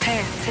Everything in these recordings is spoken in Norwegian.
P3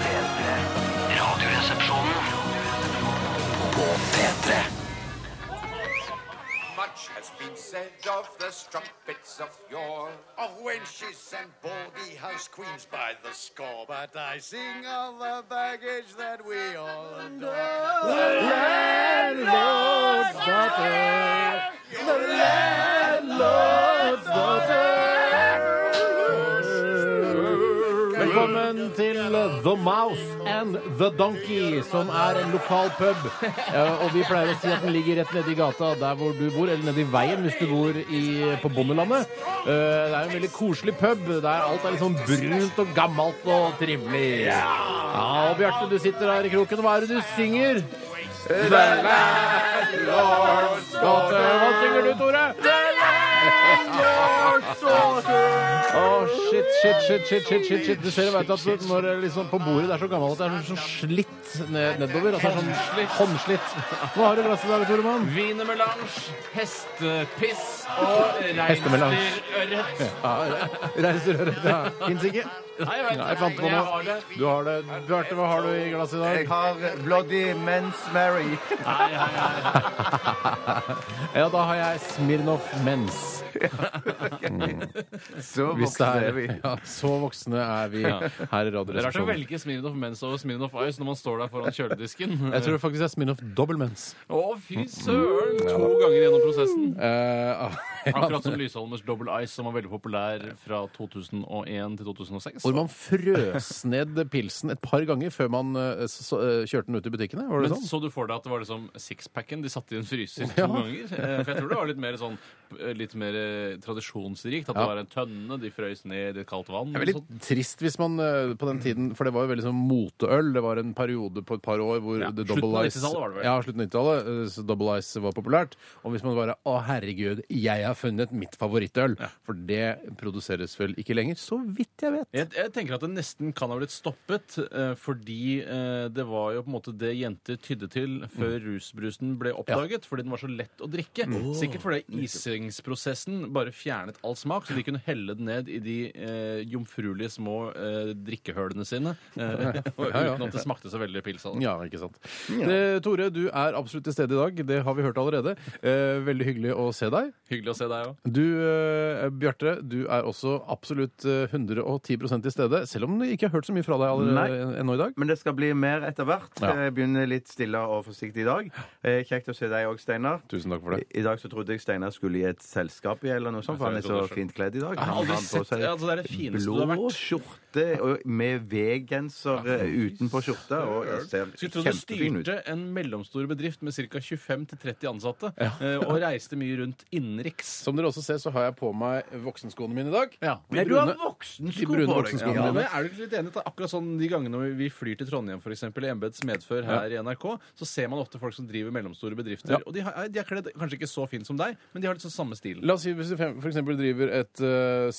P3. Radioresepsjonen på P3. Much has been said of the strumpets of yore, of wenches and baldy house queens by the score. But I sing of the baggage that we all adore. Velkommen til The Mouse and The Donkey, som er en lokal pub. Eh, Og vi pleier å si at den ligger rett nedi gata der hvor du bor, eller nedi veien hvis du bor i, på bondelandet. Eh, Det er en veldig koselig pub der alt er litt sånn brunt og gammelt og trivelig. Ja, og Bjarte, du sitter her i kroken. Hva er det du synger? Hva synger du, Tore? Å, shit, shit, shit, shit, shit, shit, shit. Du ser jo vet at du- når det liksom på bordet det er så gammelt at det er sånn, sånn slitt ned, nedover. Altså, det er sånn håndslitt. Hva har du i glasset i dag, Toremann? Wienermelange, hestepiss og Hestemelange. reinsdyrørret. Reiserøret. Ja. Fins ikke. Nei, jeg vet Nei, jeg fant ikke, men på jeg har det. noe. Du har det. Bjarte, hva har du i glasset i dag? har Bloody Men's Mary. Ja, da har jeg Smirnoff Mens. Mm. Så Hvis det voksne er vi. er ja, Så voksne er vi her i Det er rart å Radioresepsjonen. velge Smirnov Mens over Smirnov Ice når man står der foran kjøledisken. Jeg tror Mm. faktisk det er Smirnoff Dobbel Mens. Å, fy søren! To ganger gjennom prosessen. Eh, Akkurat som Lysholmers Double Ice, som var veldig populær fra 2001 til 2006. Hvor man frøs ned pilsen et par ganger før man eh, så, så, eh, kjørte den ut i butikkene? Var det Men sånn? så du for deg at det var liksom sixpacken de satte i en fryser to ganger? Eh, For jeg tror det var litt mer sånn eh, litt mer eh, tradisjonsrikt. At Ja. det var en tønne, de frøys ned i et kaldt vann. Det er og veldig sånt. trist hvis man eh, på den tiden For det var jo veldig sånn moteøl. Det var en periode på et par år hvor Ja, The slutten Double av Ice 90-tallet var det vel? Ja, slutten av 90-tallet. eh, så Double Ice var populært. Og hvis man bare Å, herregud, jeg har funnet mitt favorittøl. For det produseres vel ikke lenger, så vidt jeg vet. Jeg, jeg tenker at det nesten kan ha blitt stoppet, eh, fordi eh, det var jo på en måte det jenter tydde til før rusbrusen ble oppdaget, fordi den var så lett å drikke. Sikkert fordi isingsprosessen bare fjernet all smak, så de kunne helle den ned i de eh, jomfruelige små eh, drikkehølene sine, eh, og Ja, ja. uten at det smakte så veldig pils av det. Ja, ikke sant. Det, Tore, du er absolutt til stede i dag. Det har vi hørt allerede. Eh, veldig hyggelig å se deg. Hyggelig å se deg òg. Du, eh, Bjarte, du er også absolutt eh, 110 til stede, selv om vi ikke har hørt så mye fra deg allerede Nei. ennå i dag. Men det skal bli mer etter hvert. Ja. Jeg begynner litt stille og forsiktig i dag. Eh, Kjekt å se deg òg, Steinar. Tusen takk for det. I dag så trodde jeg Steinar skulle i et selskap i eller noe sånt, for han er så fint kledd i dag. Jeg har Han aldri har på sett seg ja, altså, Det er det fineste du har Blå vært. skjorte og med V-genser eh, utenpå skjorta, og jeg ser Skulle tro du kjempefin ut. styrte en mellomstor bedrift med ca. 25-30 ansatte eh, og reiste mye rundt innenriks. Som dere også ser, så har jeg på meg voksenskoene mine i dag. Ja. De brune, de brune voksenskoene Ja, men mine. er du ikke litt enig i at det er akkurat sånn de gangene vi flyr til Trondheim for eksempel, i embets medfør her i NRK, så ser man ofte folk som driver mellomstore bedrifter. Og de, har, de er kledd kanskje ikke så fint som deg, men de har litt sånn samme stil. La oss si hvis du f.eks. driver et eh,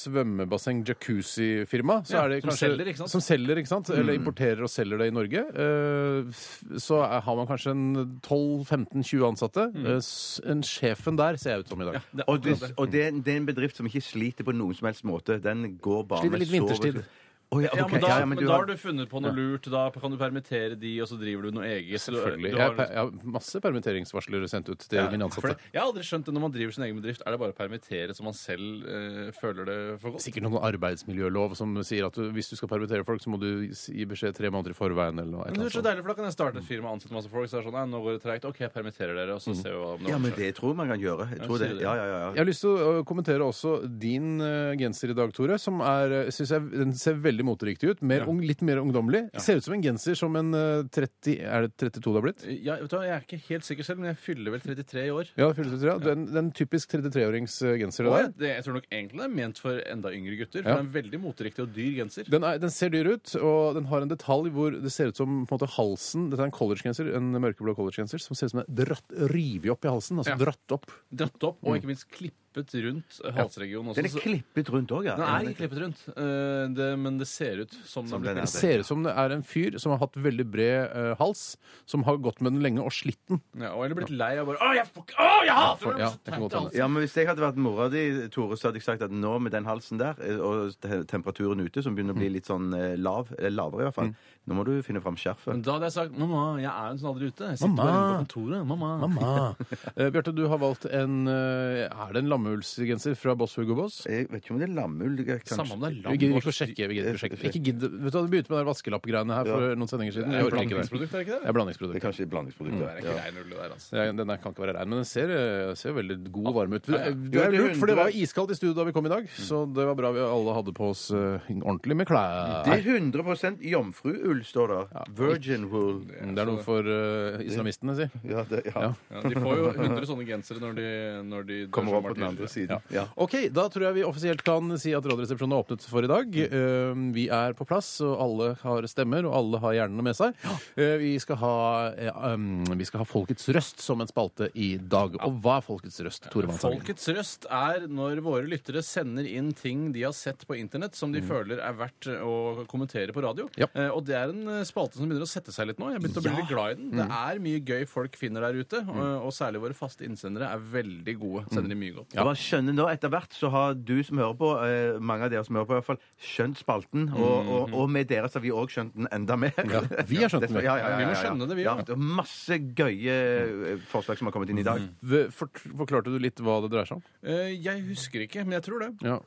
svømmebasseng-jacuzzi-firma. så Ja, er det som kanskje- selger, ikke sant? Som selger, ikke sant? Eller importerer og selger det i Norge. eh, så er, har man kanskje en 12-15-20 ansatte. Eh, s- en sjefen der ser jeg ut som i dag. Mm. Det er Og, det, akkurat det. og det, er en, det er en bedrift som ikke sliter på noen som helst måte. Den går bare Sliter litt så- vinterstid. Å, ja, Ja, ok. men da, Ja, ja, men men du da har- har du funnet på noe lurt. Da kan du permittere de, og så driver du noe eget. Du- Selvfølgelig. du Jeg har- har, per- jeg har masse permitteringsvarsler sendt ut til mine For ansatte. det, jeg har aldri skjønt det når man driver sin egen bedrift. Er det bare å permittere som man selv eh, føler det for godt? Sikkert noen arbeidsmiljølov som sier at du, hvis du skal permittere folk, så må du gi beskjed tre måneder i forveien. eller noe. et Men det eller er annet så sånt. deilig, for Da kan jeg starte et firma og ansette masse folk. Så er det sånn, «Nei, nå går det tregt. OK, jeg permitterer dere, og så ser vi hva om det Mm. Ja, men ordner seg.» det tror jeg man kan gjøre. Jeg tror sier det. det. Ja, ja, ja, Jeg ja. har lyst til å øh, kommentere også din øh, genser i dag, Tore. som er, øh, synes jeg, Den ser veldig moteriktig ut. Mer, ung, litt mer ungdommelig. Ser ut som en genser som en øh, 30 Er det 32 det har blitt? Ja, vet du, hva, jeg er ikke helt sikker selv, men jeg fyller vel 33 i år. Ja, det føles ut, ja. Den, den typisk 33-årings øh, genser. det Og jeg, der. det, jeg tror nok egentlig det er ment for enda yngre gutter. For Ja. det er en veldig moteriktig og dyr genser. Den, er, den ser dyr ut, og den har en detalj hvor det ser ut som på en måte halsen Dette er en collegegenser, en mørkeblå collegegenser som ser ut som den er dratt, revet opp i halsen. Altså Ja. dratt opp. Dratt opp og ikke minst klippet klippet rundt halsregionen også. Den er så- klippet rundt òg, ja. Den er ikke klippet rundt, eh, det, men det ser ut som, Som den den er er. blitt Det ser ut som det er en fyr som har hatt veldig bred eh, hals, som har gått med den lenge og slitt den. ja, og Eller blitt lei av bare Å, jeg, fuck, å, jeg hater det!» Ja, Så det kan godt teit i halsen. Ja, men Hvis jeg hadde vært mora di, Tore, så hadde jeg sagt at nå med den halsen der, eh, og te- temperaturen ute, som begynner å Mm. bli litt sånn eh, lav, eller lavere i hvert fall, nå må du finne fram Men skjerfet. da hadde jeg sagt mamma, jeg er jo en sånn aldri ute. Jeg sitter Mamma. bare inne på kontoret. Mamma. Mamma! Eh, Bjarte, du har valgt en eh, Er det en lammeulsgenser fra Boss Hugo Boss? Jeg vet ikke om det er lammull, kanskje. Samme om det er Vi lam gidder ikke å sjekke. Vi gidder ikke å sjekke. Ikke gidd, vet du, hva, Vi begynte med de vaskelappgreiene her for noen sendinger siden. Jeg orker ikke Eh, det. Blandingsprodukt, er det ikke Det det? er blandingsprodukt. Mm. Det er kanskje blandingsprodukter. Det er ikke rein ull, det der, altså. Ja, Den der kan ikke være rein, men den ser, eh, ser veldig god og varm ut. Det er Jo, jeg blir lurt, for det var undret. jo iskaldt i studio da Mm. vi kom i dag, så det var bra vi alle hadde på oss eh, ordentlig med Det klær. er 100 jomfruull, står det. Virgin wool. Det er noe for eh, islamistene, si. Ja, det, ja. Ja. Ja, de får jo 100 sånne gensere når de, når de dør Kommer som opp på den martyrer. andre siden. Ja. Ok, da tror jeg vi offisielt kan si at Radioresepsjonen er åpnet for i dag. Eh, Vi er på plass, og alle har stemmer, og alle har hjernene med seg. Eh, Vi skal ha, eh, um, vi skal ha Folkets røst som en spalte i dag. Og hva er Folkets røst, Tore Vanshagen? Folkets røst er når våre lyttere sender inn ting de har sett på internett som de føler er verdt å kommentere på radio. Ja. Eh, og det er en eh, spalte som begynner å sette seg litt nå. Jeg begynte å bli litt glad i den. Det er mye gøy folk finner der ute, og, og særlig våre faste innsendere er veldig gode. Sender de mye godt. Jeg bare skjønner nå, Etter hvert så har du som hører på, eh, mange av dere som hører på, i hvert fall skjønt spalten. Og, Mm, og, og med dere så har vi òg skjønt den enda mer. Ja, vi har skjønt den. Ja, ja, ja, ja, ja. Vi må skjønne det, vi ja. også. Det er masse gøye eh, forslag som har kommet inn i Mm. dag. V- fort- Forklarte du litt hva det dreier seg om? Eh, jeg husker ikke, men jeg tror det. Ja.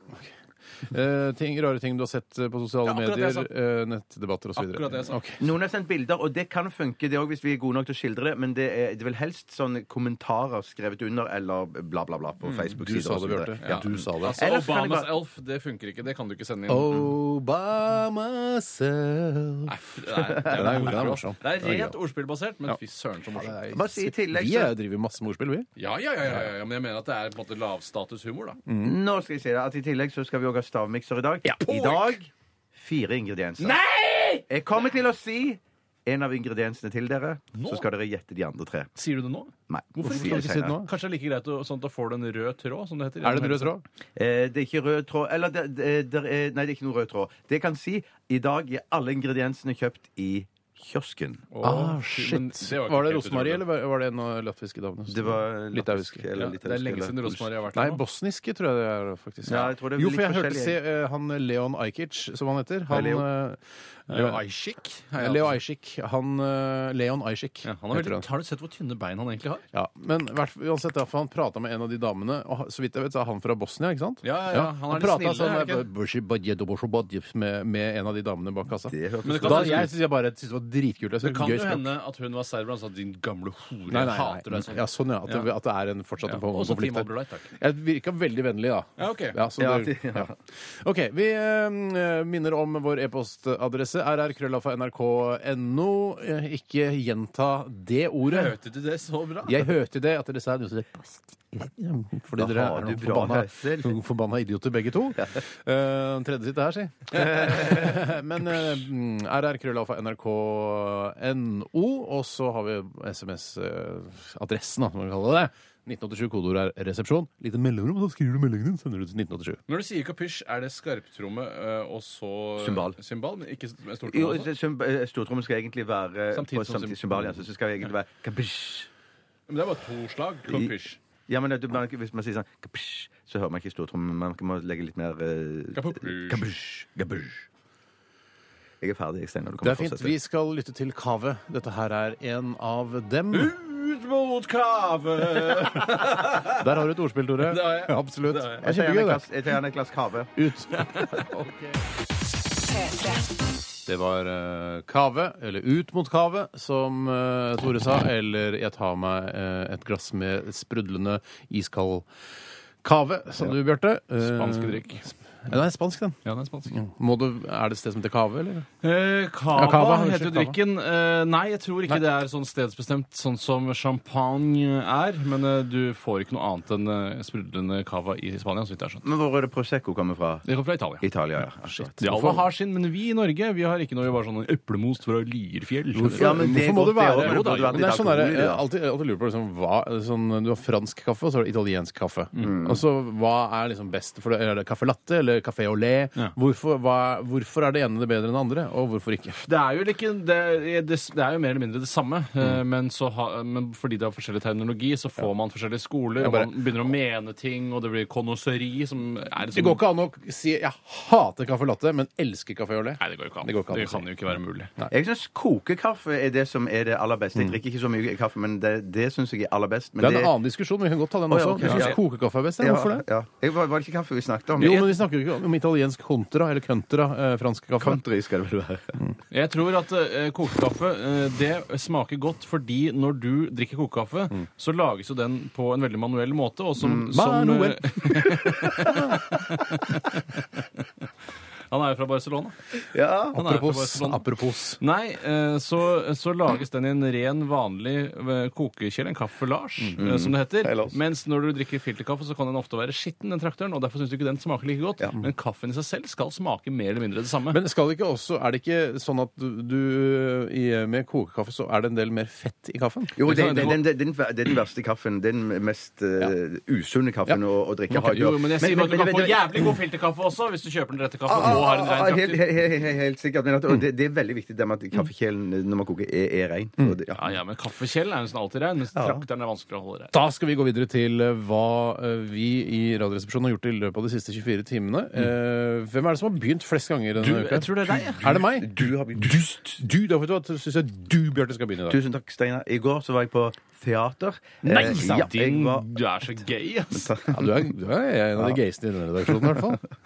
Eh, ting, rare ting du har sett eh, på sosiale Ja, akkurat det medier, jeg sa. eh, nettdebatter osv. Akkurat det jeg sa. Noen har sendt bilder, og det kan funke det også, hvis vi er gode nok til å skildre det. Men det er, det er vel helst sånne kommentarer skrevet under eller bla, bla, bla på Mm. Du Facebook-sider. sa og det, så videre. Bjarte. Ja. Du sa det. Altså, Ellers kan jeg Obamas bare- elf, det funker ikke. Det kan du ikke sende inn. Oh, by myself Mm. Nei, f- nei, det Den er- den er bra. morsom. Det er Den er rent ordspillbasert, men Ja. fy søren så morsomt. Bare si i tillegg Vi så- eh, driver masse med ordspill, vi. Ja, ja, ja, ja, ja, ja, men jeg mener at det er på en måte lavstatushumor, da. Nå skal jeg si det, at I tillegg så skal vi òg ha stavmikser i dag. I dag fire ingredienser. Nei! Jeg kommer til å si en av ingrediensene til dere, så skal dere gjette de andre tre. Sier du det nå? Nei. Hvorfor kan sier jeg du ikke si det senere. nå? Kanskje det er like greit å, sånn at da får du en rød tråd, som det heter. Er det en rød tråd? Eh, det er ikke rød tråd Eller det, det, det er, nei, det er ikke noe rød tråd. Det jeg kan si, i dag er alle ingrediensene kjøpt i kiosken. Å, Ah, fy, shit. men var, jo det ikke helt rosmarie, utrolig. eller var var det en av latviske damene? som- Det var Litauisk. latvisk eller Ja, Det er litauisk, lenge eller- siden rosmarie har vært Nei, her nå. bosniske tror jeg det er, faktisk. Ja, jeg tror det er jo, litt for jeg hørte forskjellig. se, eh, han Leon Ajkic, som han heter Han, Leo. eh, Leo Ajkic? eh, Leo Ajkic. Han eh, Leon Ajkic. Ja, han har, heter veldig, har du sett hvor tynne bein han egentlig har? Ja, men hvert- uansett, da, for han prata med en av de damene, og ha- så vidt jeg vet, så er han fra Bosnia, ikke sant? Ja, ja, ja, han er litt pratet snille, er sånn det ikke? eh, «Bushi badje do boshi badje», med, med en av de damene bak kassa. Det hørtes Men det kan Da, jo- jeg syns jeg bare synes det var dritkult. Jeg synes Det kan gøy jo språk. hende at hun var serber og sa 'din gamle hore', Nei, nei, jeg hater nei. deg sånn. Ja, sånn, ja. At det, Ja. at det er en fortsatt Ja. en på- Også konflikt Team der. Abdullah, takk. Jeg virka veldig vennlig, da. Ja, ok. så Ja, det- de- ja. OK. Vi eh, minner om vår e-postadresse rrkrøllafa.nrk.no. Eh, Ikke gjenta det ordet. Hørte du det så bra? Jeg hørte det at dere sa det, og så sa jeg, «Post». Fordi Da dere har er du noen bra forbanna, hørsel. noen forbanna idioter, begge to. Eh, Den tredje sitter her, si. Men eh, mm, rrkrøllalfa.nrk.no, og så har vi SMS-adressen, eh, da, som vi kaller det. 1987 kodeord er resepsjon. Lite mellomrom, så skriver du meldingen din. Sender du til 1987. Når du sier kapysj, er det skarptromme ø, og så Cymbal. Cymbal, men ikke med stort Jo, også? sym- eh, Stortrommen skal egentlig være eh, Samtidig på som samtidig sym- symbol, ja. Så skal det egentlig være kabisj. Men det er bare to slag. Kapysj. Ja, men det- man, hvis man sier sånn kabisj, så hører man ikke stortrommen. Man må legge litt mer eh, Kapusj. kabisj, kabisj. Jeg er ferdig, Steinar. Du kan Det er fint. fortsette. Vi skal lytte til Kave. Dette her er en av dem. Ut mot kave! Der har du et ordspill, Tore. Det har jeg. Absolutt. Det har jeg. Det er Jeg tar gjerne kjempegøy, et det. glass- Jeg tar gjerne et glass kave. Ut. Det var eh, Kave, eller Ut mot Kave, som eh, Tore sa. Eller Jeg tar meg eh, et glass med sprudlende iskald kave, som du, Bjarte. Eh, Spansk drikk. sp- Den er spansk, den. Ja, den er spansk. Må du, er det et sted som heter Cave, eller? Eh, cava, Ja, cava, unnskyld, heter jo cava. drikken. Eh, nei, jeg tror ikke det er sånn stedsbestemt, sånn som champagne er. Men eh, du får ikke noe annet enn eh, sprudlende cava i Spania. så vidt jeg har skjønt. Men hvor er det Prosecco kommer fra? Det kommer fra Italia. Italia, ja. Akkurat. De alle har sin, men vi i Norge vi har ikke noe vi bare sånn eplemost fra Lyrfjell. Ja, men det Hvorfor må er det være godt, det også, men det Jo da, burde vært Men det litt er sånn der, alkohol i jeg det. har alltid, jeg har alltid lurer på liksom, hva, sånn, Du har fransk kaffe, og så har du italiensk kaffe. Og så Hva er liksom best? For det, er det caffè latte eller caffè au lait? Ja. Hvorfor, hva, hvorfor er det ene det bedre enn det andre, og hvorfor ikke? Det er jo ikke, det, er- det, det er jo mer eller mindre det samme, Mm. eh, men, så ha, men fordi det er forskjellig terminologi, så får man forskjellige skoler, bare- og man begynner å mene ting, og det blir konnoisseri som er sånn- Det går ikke an å si 'jeg hater caffè latte, men elsker caffè au lait'. Nei, det går jo ikke an. Det går ikke an å si. kan jo ikke være mulig. Jeg syns kokekaffe er det som er det aller beste. Jeg drikker ikke så mye kaffe, men det, det syns jeg er aller best. Men Mm. Det er en annen diskusjon, men vi kan godt ta den Å, også. ja, ok, Du syns ja. kokekaffe er best? eller Ja, Hvorfor det? Ja. Jeg, var, var det ikke kaffe vi snakket om? Jo, men vi snakker jo ikke om italiensk contra eller contra eh, fransk kaffe. Country skal det vel være. Jeg tror at eh, kokekaffe eh, det smaker godt fordi når du drikker kokekaffe, så lages jo den på en veldig manuell måte. Og som, som eh, Manuel. Han er jo fra Barcelona. Ja. Han er Apropos. jo fra sånn- Barcelona. apropos. Nei, eh, så, så lages den i en ren, vanlig eh, kokekjele, en kaffelage, eh, som det heter. Hellas. Mens når du drikker filterkaffe, så kan den ofte være skitten, den traktøren, og derfor syns du ikke den smaker like godt. Men kaffen i seg selv skal smake mer eller mindre det samme. Men skal det ikke også, er det ikke sånn at du, du i- med kokekaffe så er det en del mer fett i kaffen? Jo, det, Det kan- det, den, den, den, det er den verste kaffen. Den mest eh, usunne kaffen Ja. å, å drikke. har jo, men jeg sier at du kan men- få men- jævlig god filterkaffe også, hvis du kjøper den rette kaffen og Ah, har en rein helt, traktor. helt, helt, helt, helt sikkert. Men at, og det, det er veldig viktig det med at kaffekjelen eh, når man koker, er, er rein. Og det- ja. Mm. Ja, ja, men kaffekjelen er jo nesten alltid rein, mens trakteren er vanskelig å holde rein. Da skal vi gå videre til eh, hva eh, vi i Radioresepsjonen har gjort i løpet av de siste 24 timene. Mm. Eh, Hvem er det som har begynt flest ganger denne Du, uka? jeg tror det er deg, jeg. Er det meg? Du har begynt. Dust! Du, da vet du hva, syns jeg du, Bjarte, skal begynne i dag. Tusen takk, Steinar. I går så var jeg på teater. Nei, Eh, sa ja, jeg din, var- du er så gay, ass. Ja, du, er, du er en av de gøyeste i denne redaksjonen, i hvert fall.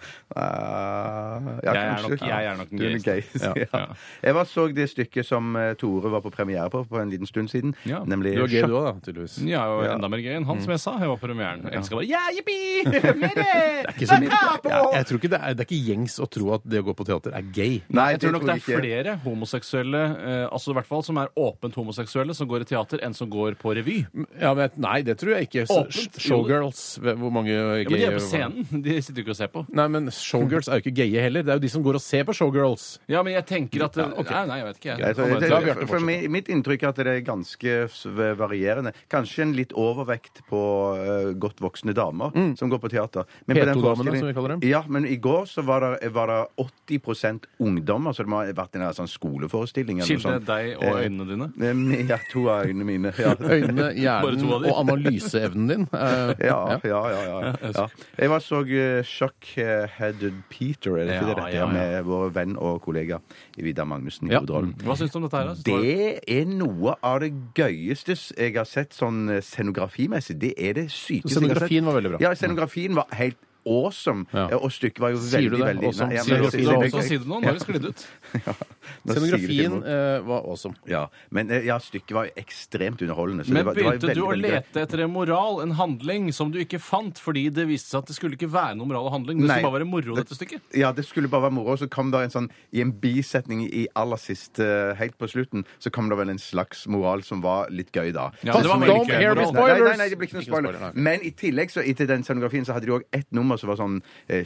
Ah, Jeg er kanskje. nok- jeg er nok den Du er gøyeste. gøyeste, Ja. ja. Jeg var, så det stykket som eh, Tore var på premiere på for en liten stund siden. Ja. Nemlig Du er gay, Sjakk- du òg, da, tydeligvis. Jeg er jo Ja. enda mer gøy enn han, som jeg sa. Jeg var på premieren. Jeg elsker bare Ja, jippi! Det er ikke så mye. Ja, jeg tror ikke det, er, det er ikke gjengs å tro at det å gå på teater er gay. Nei, Jeg tror nok det er ikke. flere homoseksuelle, eh, altså i hvert fall som er åpent homoseksuelle, som går i teater, enn som går på revy. Ja, men, jeg- nei, det tror jeg ikke. Åpent. Sh- Showgirls, hvor mange gay Ja, men de er på scenen. De sitter jo ikke og ser på. Nei, men showgirls er jo ikke gaye heller. Det er jo de som går og ser på showgirls. Ja, men jeg tenker at Ja, ok. Nei, nei, jeg vet ikke. Jeg tror- Jeg. Kom igjen, det- la Bjarte for fortsette. mi- mitt inntrykk er at det er ganske s- varierende. Kanskje en litt overvekt på eh, godt voksne damer som går på teater. Men på den P2-damene, forestillingen- som vi kaller dem. Ja, men i går så var det, var det 80 ungdommer, så det må ha vært en sånn skoleforestilling. eller noe Skille sånt. deg og øynene dine. Eh, med- Ja, to av øynene mine. Ja. Øynene, Bare hjernen to av de. og analyseevnen din. eh, Ja, ja, ja. ja, ja. Jeg var så eh, Shockheaded Peter, er det ikke Ja, det det heter? ja, ja. Med vår venn og kollega Vidar Magnussen i Ja. hovedrollen. Hva syns du om dette her? da? Syns du var- Det er noe av det gøyeste jeg har sett sånn scenografimessig. Det er det sykeste jeg har sett. Scenografien var veldig bra. Ja, scenografien var helt awesome. Eh, Ja. Og stykket var jo Sier du veldig, det? veldig Awesome? Nei, ja, men- Sier du det? Du har også sier det nå. Nå har det sklidd ut. Nå sier du det til Scenografien noen. eh, var awesome. Ja, men eh, ja, stykket var jo ekstremt underholdende. så det Men var- det var jo begynte du veldig, å veldig gøy. lete etter en moral, en handling, som du ikke fant fordi det viste seg at det skulle ikke være noen moral og handling? Det Nei. skulle bare være moro, dette stykket. Ja, det skulle bare være moro. Og så kom det en sånn I en bisetning i aller siste, eh, helt på slutten, så kom det vel en slags moral som var litt gøy, da. Ja, men det var Som veldig egentlig gøy er moral. moral. Nei, nei, Spoilers! nei, det blir ikke noe Ikke spoiler. spoiler, Men i tillegg, så etter den scenografien, så hadde de òg ett nummer som var sånn eh,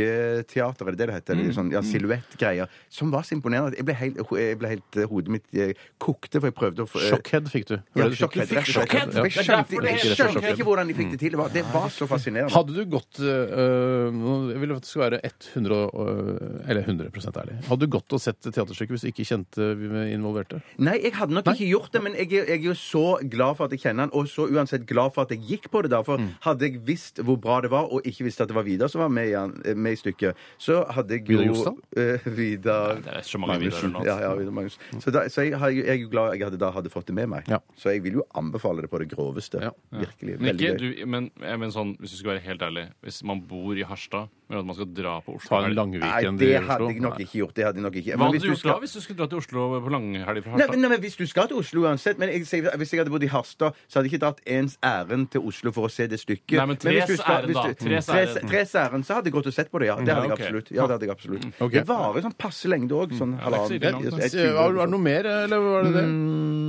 skyggeteater, er det det det heter? Eller sånn ja, silhuettgreier. Som var så imponerende. Jeg ble helt, jeg ble helt eh, Hodet mitt eh, kokte, for jeg prøvde å få eh, Shockhead fikk du. ja, Var det du fikk? sjokkhead, Du fikk shockhead, ja. rett og slett. Jeg Det er skjønte, derfor det jeg heter skjønte ikke hvordan de fikk det til. Det var, det var så fascinerende. Hadde du gått eh, nå- Jeg vil at det skal være 100, og- eh, eller 100 ærlig. Hadde du gått og sett teaterstykket hvis du ikke kjente vi med involverte? Nei, jeg hadde nok ikke gjort det, men jeg, er- jeg er jo så glad for at jeg kjenner han, og så uansett glad for at jeg gikk på det. da, Mm. For hadde jeg visst hvor bra det var, og ikke visst at det var Vidar som var med i, han- med i stykket, så hadde jeg jo Vidar Jostad? Eh, Vidar Det er så mange Vidarer nå. altså. ja, ja, Vidar Magnussen. Så, da, så jeg, har- jeg er jo glad jeg hadde, da hadde fått det med meg. Ja. Så jeg vil jo anbefale det på det groveste. Ja. Virkelig. Men, Veldig ikke, gøy. du, men, jeg mener sånn, hvis du skal være helt ærlig, hvis man bor i Harstad, men at man skal dra på Oslo Ta en helg- Langviken Nei, du, i det Oslo. hadde jeg nok Nei. ikke gjort. Det hadde jeg nok ikke. Hva Men hadde hvis du du gjort da skal- hvis du skulle dra til Oslo på langhelg fra Nei, Harstad? men, nei, men Hvis du skal til Oslo uansett men jeg, sier- Hvis jeg hadde bodd i Harstad, så hadde jeg ikke dratt ens ærend til Oslo for å se det stykket. Nei, men hvis du tres skal- ærend, hvis da. du- Tres Mm, Tres Therese Therese Ærense hadde gått og sett på det, ja. Det hadde jeg ok. Mm, absolutt. Ja, det hadde jeg absolutt. Ok. Det varer sånn passe lengde òg. Sånn det er halvannen et- ikke så ille langt, Var et- tjue var det noe mer, eller var det det?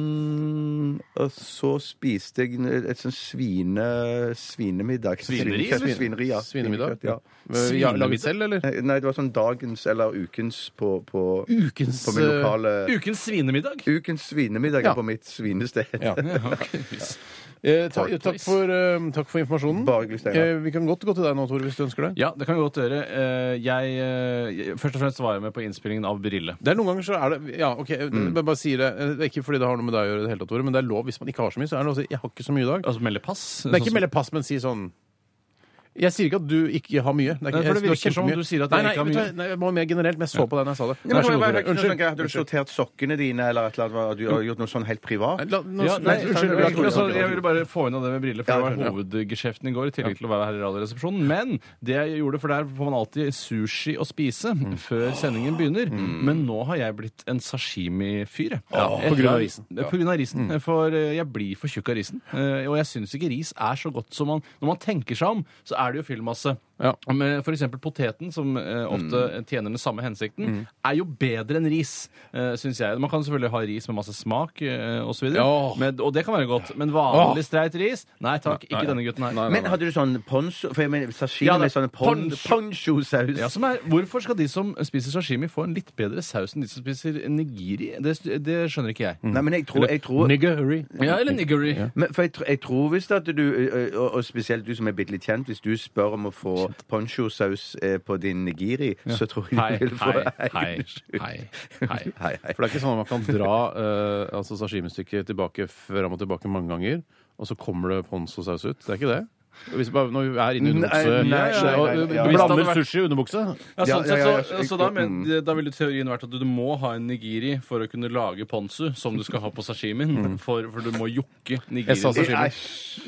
Mm, og så spiste jeg et sånn svine, svinemiddag. Svineri, Svinekjøtt, eller? Svineri, ja. Svinemiddag? Svinekjøtt, ja. Ja, Laget selv, eller? Nei, Nei, det var sånn dagens eller ukens på, på Ukens eh, På min lokale Ukens svinemiddag. Ukens svinemiddag Ja. er på mitt svinested. Ja. Ok. Eh, ta, takk, for, eh, takk for informasjonen. Bare hyggelig, Steinar. Eh, vi kan godt gå til deg nå, Tore, hvis du ønsker det. Ja, det kan vi godt gjøre. Eh, Jeg, eh, først og fremst var jeg med på innspillingen av Brille. Det er Noen ganger så er det ja, ok, Mm. jeg bare sier det, Eh, det er ikke fordi det har noe med deg å gjøre, i det hele tatt, Tore, men det er lov hvis man ikke har så mye. så er det lov å si 'jeg har ikke så mye i dag'. Altså melde pass. Det er ikke melde pass, men si sånn Jeg sier ikke at du ikke har mye. er ikke, Nei, for det jeg- har virker som om kjempemye. du sier at jeg nei, nei, ikke har vet du mye. hva, Nei, jeg må mer generelt, men jeg så på deg når jeg sa det. Ja, Vær så men jeg god, Tore. bare- jeg Unnskyld. skjønner ikke, Hadde du sortert sokkene dine, eller et eller annet, at du har gjort noe sånn helt privat? Nei, la- nå- Ja, nei, nei, unnskyld, jeg, Tore. altså, jeg ville bare få inn av det med briller, for Ja, det var hovedgeskjeften i går. I tillegg til å være her i Radioresepsjonen. Men det jeg gjorde, for der får man alltid sushi å spise før sendingen begynner. Men nå har jeg blitt en sashimi-fyr. jeg. Jeg- på grunn av risen. Ja, På grunn av risen. For eh, jeg blir for tjukk av risen. Eh, Og jeg syns ikke ris er så godt som man Når man tenker seg om, så er det jo fyllmasse. Ja. Med for eksempel poteten, som eh, ofte tjener den samme hensikten, er jo bedre enn ris, eh, syns jeg. Man kan selvfølgelig ha ris med masse smak eh, og så videre Ja. men, og det kan være godt. Men vanlig streit ris? Nei takk, ikke denne gutten her. Men hadde du sånn poncho For jeg mener sashimi Ja, det- med sånn pon poncho. poncho-saus. sånn. Ja, som er, hvorfor skal de som spiser sashimi, få en litt bedre saus enn de som spiser nigiri? Det, det skjønner ikke jeg. Nei, men jeg tror, jeg tror Niggeri. Mm. Ja, eller nigiri. men for jeg, tr- jeg tror visst at du, ø, ø, og, og spesielt du som er bitte litt kjent, hvis du spør om å få poncho-saus eh, på din nigiri, så tror Hei, jeg du vil få hei, hei, hei, hei. hei, hei. For det er ikke sånn at man kan dra eh, altså sashimistykket tilbake fram og tilbake mange ganger, og så kommer det ponzo-saus ut. Det er ikke det? Hvis bare, når vi er inne i underbukse Nei, nei, nei, og, nei, nei, og nei. Blander sushi i underbukse? Ja, Ja, sånn ja, sett, ja, så, ja, så da, men, mm. da ville teorien vært at du, du må ha en nigiri for å kunne lage ponzu, som du skal ha på sashimien. For, for du må jokke nigiri. Mm. Jeg sa Å sashimi.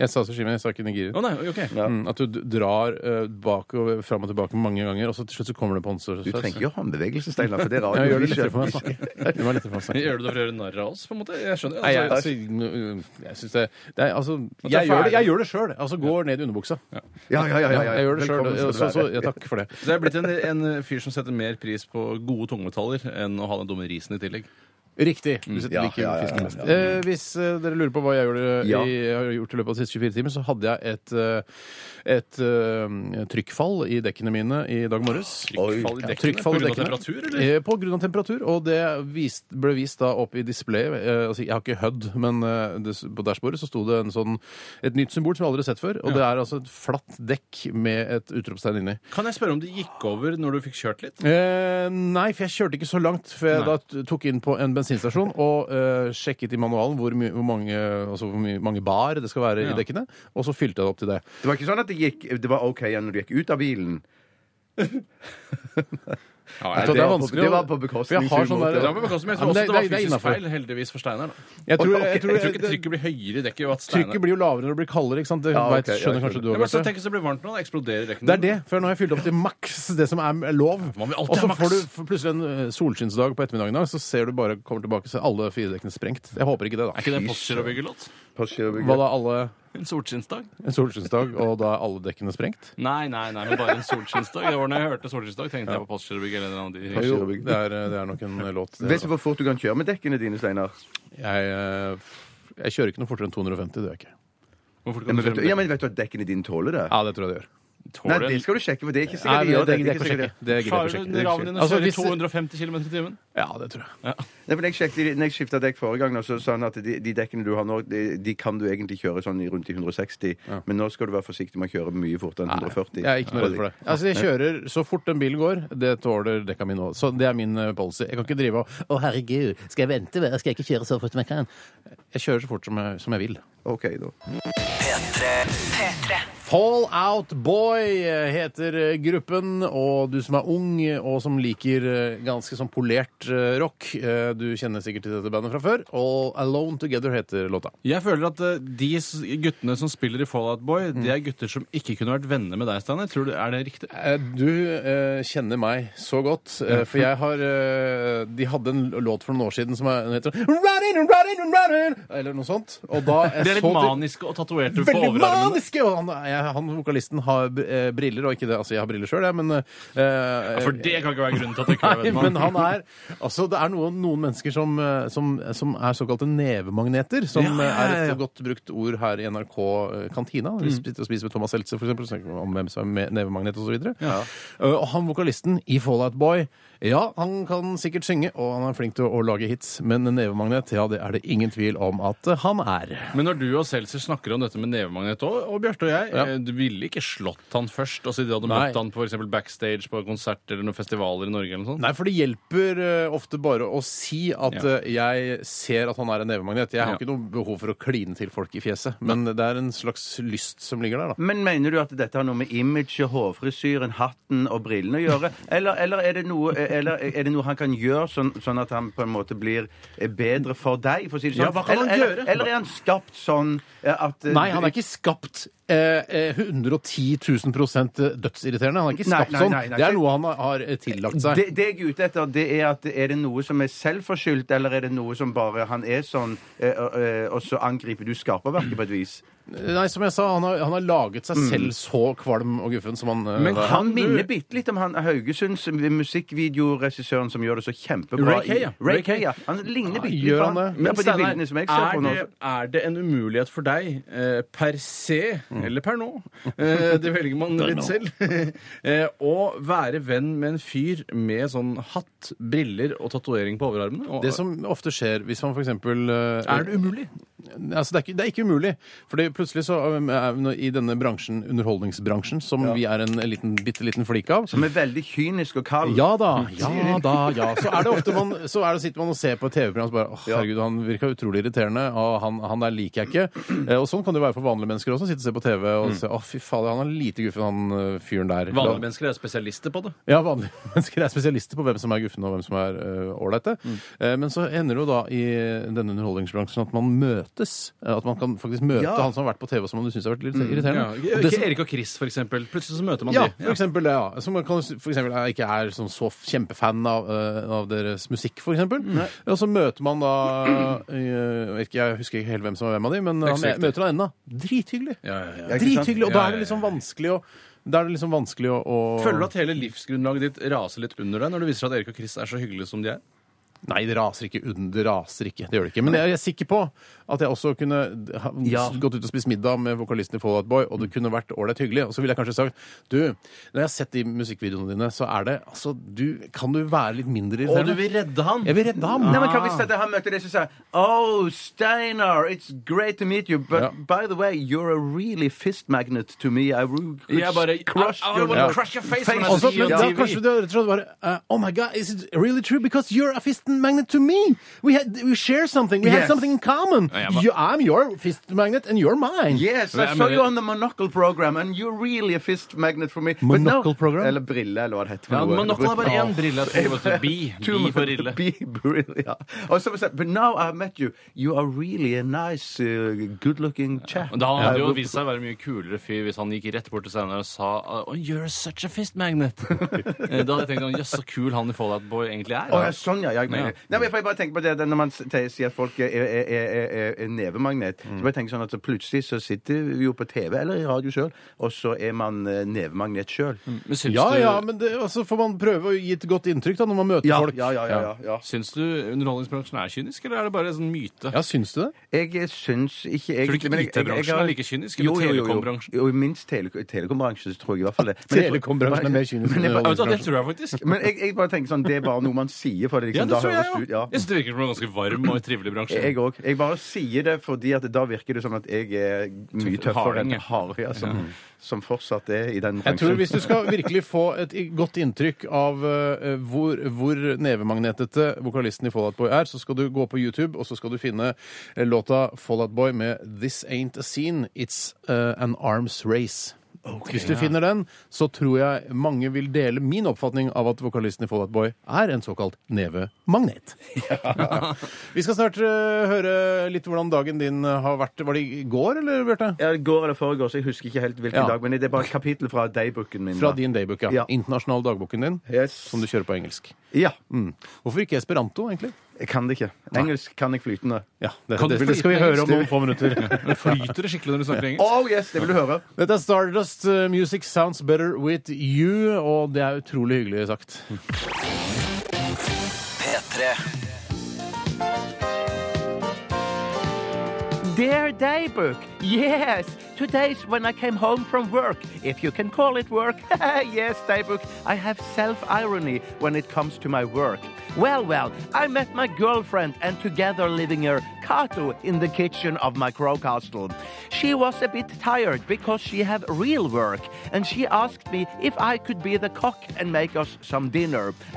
Jeg sa sashimi, jeg sa ikke nigiri. nei, ok. Mm, at du d- drar eh, bak og fram og tilbake mange ganger, og så til slutt så kommer det ponzo-saus. Du trenger ikke å ha en bevegelse, Steinar, for det er ja, rart. gjør det altså. lettere for meg å snakke. Det var lettere for meg å snakke. Gjør du det for å gjøre narr av oss, på en måte? Jeg skjønner. Nei, jeg, altså, Altså, jeg syns det, det er, altså, er jeg, gjør det, ferdig. jeg gjør det sjøl. Altså går ned i underbuksa. Ja, ja, ja, ja, Ja, ja. jeg gjør det sjøl. Velkommen skal du Så, så, være. ja, takk for det. så jeg er blitt en, en fyr som setter mer pris på gode tungmetaller enn å ha den dumme risen i tillegg. Riktig. Du setter Mm. Ja, like ja, ja, ja, fisken ja. mest. Eh, hvis eh, dere lurer på hva jeg, gjorde, Ja. i, har gjort i løpet av de siste 24 timer, så hadde jeg et, eh, et eh, trykkfall i dekkene mine i dag morges. Trykkfall i Ja, dekkene trykkfall i på grunn av dekkene. temperatur, eller? Eh, På grunn av temperatur, og det vist, ble vist da opp i displayet. Eh, altså, jeg har ikke HUD, men eh, det, på dashbordet så sto det en sånn, et nytt symbol som jeg aldri har sett før, og det er altså et flatt dekk med et utropstegn inni. Kan jeg spørre om det gikk over når du fikk kjørt litt? Eh, nei, for jeg kjørte ikke så langt. For jeg da t- tok inn på en bensinstasjon og eh, sjekket i manualen hvor, mye- hvor, mange, altså hvor mye, mange bar det skal være Ja. i dekkene, og så fylte jeg det opp til det. Det var ikke sånn at det gikk Det var OK igjen når du gikk ut av bilen. Så det det er var på- vanskelig det å- var på bekostning, for jeg har sånn humor, der- det Ja, Ja, men jeg tror men også det, var det er fysisk innenfor. feil, heldigvis for Steinar. da. Jeg tror, Ok, jeg tror, Jeg tror ikke det- trykket blir høyere i dekket. og at Steinar- Trykket blir jo lavere når det blir kaldere. ikke sant? Det Ja, ok, vet- ja, jeg skjønner kanskje skjønner. du Ja, òg, men så Bjarte. tenk hvis det blir varmt nå, da eksploderer dekkene. Det er det. For nå har jeg fylt opp til maks det som er lov. Man vil alltid Og så ha maks. får du f- plutselig en eh, solskinnsdag på ettermiddagen, da, så ser du bare kommer tilbake så er alle fire dekkene sprengt. Jeg håper ikke det, da. Er ikke det en postgirobyggelåt? Hva Postgirobygget. da, alle En solskinnsdag? en solskinnsdag, og da er alle dekkene sprengt? Nei, nei, nei, men bare en solskinnsdag. Det var når jeg hørte solskinnsdag, tenkte jeg på postgirobygg eller en eller annen. Jo, det er, eh, det er nok en eh, låt. det, Vet du altså. hvor fort du kan kjøre med dekkene dine, Steinar? Jeg, eh, f- jeg kjører ikke noe fortere enn 250, det gjør jeg ikke. Hvorfor Ja, kan men du vet du, kjøre ja, med men vet du at dekkene dine tåler det? Ja, det tror jeg det gjør. Nei, tåler det en- skal du sjekke, for det er ikke Nei, sikkert de det, gjør det, det. det, det, det, er ikke sikkert det. det gidder jeg Klarer ikke å du sjekke. raven din å Altså, kjøre i hvis- 250 km i timen? Ja, det tror jeg. Nei, men jeg sjekket, når jeg skifta dekk forrige gang, og så sa han at de, de dekkene du har nå, de, de kan du egentlig kjøre sånn i rundt i 160, men nå skal du være forsiktig med å kjøre mye fortere enn 140. Jeg er ikke noe redd for det. Altså, jeg kjører så fort den bilen går. Det tåler dekka mine òg. Så det er min eh, policy. Jeg kan ikke drive og Å, herregud, skal jeg vente? hva? Skal jeg ikke kjøre så fort som jeg kan? Jeg kjører så fort som jeg, som jeg vil. OK, da. P3. Fall Out Boy heter eh, gruppen, og du som er ung eh, og som liker eh, ganske sånn polert eh, rock, eh, du kjenner sikkert til dette bandet fra før, og Alone Together heter låta. Jeg føler at eh, de s- guttene som spiller i Fallout Boy, Mm. det er gutter som ikke kunne vært venner med deg, Steinar. Tror du- Er det riktig? Eh, Du eh, kjenner meg så godt, eh, for jeg har eh, De hadde en låt for noen år siden som er- den heter Running, running, running, eller noe sånt. Og da jeg De er litt så til- maniske og tatoverte på Veldig overarmene. maniske! Og han, jeg, han vokalisten har eh, briller, og ikke det, altså jeg har briller sjøl, jeg, men eh, For det kan ikke være grunnen til at du ikke er Nei, men vennemann. han er Altså, det er noen, noen mennesker som, eh, som, som er såkalte nevemagneter, som Ja, ja, ja, eh, er ja. Mm. et godt brukt ord her i NRK eh, kantina. Hvis vi sitter og spiser med Thomas Seltze, for eksempel, så snakker vi om hvem som er med nevemagnet osv. Ja. Eh, Og han vokalisten i Fallout Boy ja, han kan sikkert synge, og han er flink til å, å lage hits, men nevemagnet, ja, det er det ingen tvil om at eh, han er. Men når du og Seltzer snakker om dette med nevemagnet og, og Bjarte og jeg, eh, du ville ikke slått han først og si du hadde Nei. møtt han på for eksempel backstage på konsert eller noen festivaler i Norge eller noe sånt? Nei, for det hjelper eh, ofte bare å si at Ja. eh, jeg ser at han er en nevemagnet. Jeg har Ja. ikke noe behov for å kline til folk i fjeset, men det er en slags lyst som ligger der, da. Men mener du at dette har noe med imaget, hårfrisyren, hatten og brillene å gjøre? Eller, eller, er, det noe, eller er det noe han kan gjøre sånn, sånn at han på en måte blir eh, bedre for deg? For å si det sånn. Ja, hva kan eller, han eller, gjøre? eller er han skapt sånn eh, at eh, Nei, han er ikke skapt eh, eh, 110 000 eh, dødsirriterende. Han er ikke Nei, skapt nei, nei, nei. sånn. Det er noe han har- har eh, tillagt seg. det, det jeg er ute etter, det er at er det noe som er selvforskyldt, eller er det noe som bare han er sånn, eh, eh, og så angriper du skaperverket på et vis? Nei, som jeg sa, han har, han har laget seg selv så kvalm og guffen som Mm. han eh, Men var. Han Kan du- minner bitte litt om han Haugesunds musikkvideoregissøren som gjør det så kjempebra. Ray Kay, ja. i- Ray Ray Kay, Kay. ja. Han ligner bitte litt Gjør på han han. det? Ja, på de Steinar, bildene som jeg ser er, på nå. det, er det en umulighet for deg eh, per se, eller per nå, eh, Mm. det velger man litt selv, eh, å være venn med en fyr med sånn hatt, briller og tatovering på overarmene? Og, Det som ofte skjer hvis man eh, f.eks. er det umulig? Altså, det, er ikke, det er ikke umulig. Fordi plutselig så um, er vi nå i denne bransjen, underholdningsbransjen, som vi er en liten, bitte liten flik av Mm. Som er veldig kynisk og kald. ja da, ja da, ja. Så er det ofte man, så er det, sitter man og ser på et TV-program og så bare åh, herregud, han virka utrolig irriterende, og han, han der liker jeg ikke. Eh, Og sånn kan det jo være for vanlige mennesker også. Sitte og se på TV og se å fy fader, han er lite guffen, han eh, fyren der. Vanlige mennesker er spesialister på det. Ja, vanlige mennesker er spesialister på hvem som er guffene og hvem som er øh, ålreite. Mm. Eh, men så ender det jo da i denne underholdningsbransjen at man møtes. Eh, At man kan faktisk møte Ja. han som har vært på TV som du syns har vært litt irriterende. Mm. Ja, Og det ikke som- Erik og Chris, for eksempel. Plutselig så møter man ja, de. for eksempel det. Ja. Som kan, for eksempel, jeg ikke er sånn så kjempefan av, eh, av deres musikk, for eksempel. Og så møter man da eh, ikke, Jeg husker ikke helt hvem som var hvem av de, men er han ikke så viktig. møter han ennå. Drithyggelig. Ja, ja, ja. Drithyggelig. Og Ja, da ja, er det liksom ja, ja. vanskelig å da er det liksom vanskelig å, å Føler du at hele livsgrunnlaget ditt raser litt under deg når det viser seg at Erik og Chris er så hyggelige som de er? Nei, det raser ikke under. Det raser ikke. Det gjør det ikke. Men jeg er sikker på at jeg også kunne ha Ja. gått ut og spist middag med vokalisten i Fallout Boy, og det kunne vært ålreit hyggelig. Og så ville jeg kanskje sagt Du, når jeg har sett de musikkvideoene dine, så er det Altså, du Kan du være litt mindre Og du irriterende? vil redde han! Ah. Jeg vil redde ham. Nei, men hva hvis dette her møter det som sier Oh, Steinar, it's great to meet you, but Ja. by the way, you're a really fist magnet to me. I would Jeg bare- crush I- I your wanna Ja. crush your face when I Og så- see men you on da TV. kanskje du rett og slett bare eh, Oh my God, is it really true? Because you're a fist magnet to me! We, had, we share something. We have Yes. something in common. Ja, jeg var- You, I'm your fist magnet, and you're mine. Yes, Men I jeg saw mener- you on the monocle program, and you're really a fist magnet for me. But Monocle no- program? Eller brille, eller hva det heter. for Ja, noe. men nok er bare én brille. Jeg tror, vet du. Bi. Two- Bi for ille. Be brille, ja. Og så sier But now I've met you. You are really a nice, uh, good-looking chap. Men da hadde I jo would- vist seg å være en mye kulere fyr hvis han gikk rett bort til Steinar og sa oh, 'You're such a fist magnet'. Eh, da hadde jeg tenkt sånn, jøss, så kul han i Fallout Boy egentlig er. Å, ja, sånn, ja. Jeg, mener Ja. det. Nei, men jeg bare tenker på det, det Når man s- te- sier at folk er, er, er, er, er nevemagnet, så Mm. bare tenker jeg sånn at så plutselig så sitter vi jo på TV eller i radio sjøl, og så er man eh, nevemagnet sjøl. Men syns Ja, du, ja, men det, og så får man prøve å gi et godt inntrykk da, når man møter Ja, folk. ja, ja, ja, ja, ja. syns du underholdningsbransjen er kynisk, eller er det bare en sånn myte? Ja, syns du det? Jeg syns ikke Tror du ikke egentlig, men jeg- jeg- jeg IT-bransjen har- er like kynisk? Jo, Eller jo, jo, jo. telekombransjen? Jo, minst tele telekombransjen, så tror jeg i hvert fall det. Men jeg tror- Telekombransjen er mer kynisk enn Men jeg Ja, vet du hva, Det underholdningsbransjen. tror jeg faktisk. Men jeg, jeg bare tenker sånn, det er bare noe man sier for det. Ja, Liksom, det da tror høres jeg det ut- jo. ja. Jeg syns det virker som en ganske varm og trivelig bransje. Jeg òg. Jeg bare sier det fordi at da virker det som at jeg er mye tøffere enn Harding, ja. Harøya, som, som fortsatt er i den Jeg tror Hvis du skal virkelig få et i- godt inntrykk av eh, hvor, hvor nevemagnetete vokalisten i Fallout Boy er, så skal du gå på YouTube og så skal du finne eh, låta Fallout Boy med This Ain't A Scene, It's eh, An Arms Race. Hvis du finner den, så tror jeg mange vil dele min oppfatning av at vokalisten i Fallout Boy er en såkalt nevemagnet. Vi skal snart eh, høre litt hvordan dagen din eh, har vært. Var det i går, eller, Bjarte? Ja, det går eller foregår, så jeg husker ikke helt hvilken Ja. dag, men det er bare et kapittel fra daybooken min. Fra da. din daybook, ja. Ja. Internasjonal dagboken din, Yes. som du kjører på engelsk. Ja. Hvorfor Hmm. ikke esperanto, egentlig? Jeg kan det ikke. Engelsk kan jeg flytende. Ja, det, Kan det, du det skal vi flyte høre om noen få minutter. Men flyter det skikkelig når du snakker engelsk? Oh yes, det vil du høre. Dette er Stardust uh, Music Sounds Better With You, og det er utrolig hyggelig sagt. P3. Dear Daybook, yes, today's when I came home from work, if you can call it work. yes, Daybook, I have self irony when it comes to my work. Well, well, I met my girlfriend and together living her, Kato, in the kitchen of my crow castle. She was a bit tired because she had real work, and she asked me if I could be the cock and make us some dinner.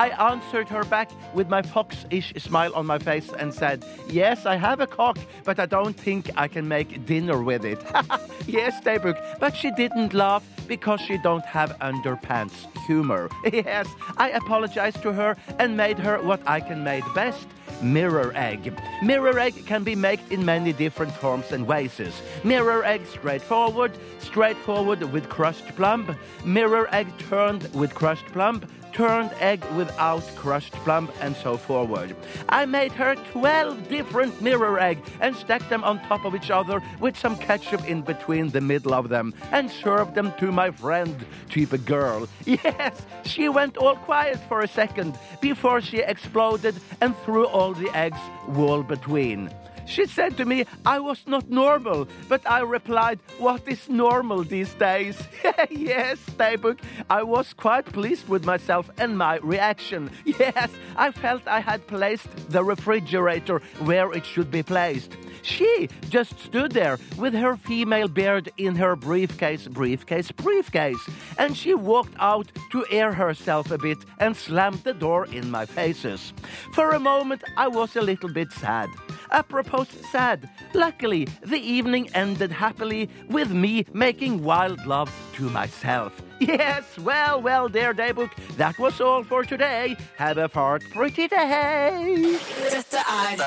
I answered her back with my fox-ish smile on my face and said, Yes, I have a cock, but I don't think I can make dinner with it. yes, Daybook, but she didn't laugh because she don't have underpants humor. yes, I apologized to her and made her what I can make best. Mirror egg. Mirror egg can be made in many different forms and ways. Mirror egg straightforward, straightforward with crushed plum, mirror egg turned with crushed plum, turned egg without crushed plum, and so forward. I made her 12 different mirror egg and stacked them on top of each other with some ketchup in between the middle of them and served them to my friend, type of girl. Yes, she went all quiet for a second before she exploded and threw all the eggs wall between. She said to me, I was not normal, but I replied, What is normal these days? yes, Daybook, I was quite pleased with myself and my reaction. Yes, I felt I had placed the refrigerator where it should be placed. She just stood there with her female beard in her briefcase, briefcase, briefcase, and she walked out to air herself a bit and slammed the door in my faces. For a moment, I was a little bit sad apropos sad. Luckily, the evening ended happily with me making wild love to myself. Yes, well, well, dear Daybook, that was all for today. Have a fart pretty day. Dette er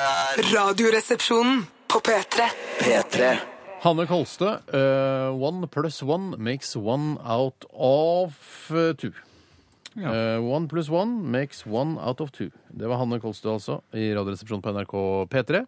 Radioresepsjonen på P3. P3. Hanne Kolstø, eh, one plus one makes one out of eh, two. Ja. Eh, one plus one makes one out of two. Det var Hanne Kolstø, altså, i Radioresepsjonen på NRK P3.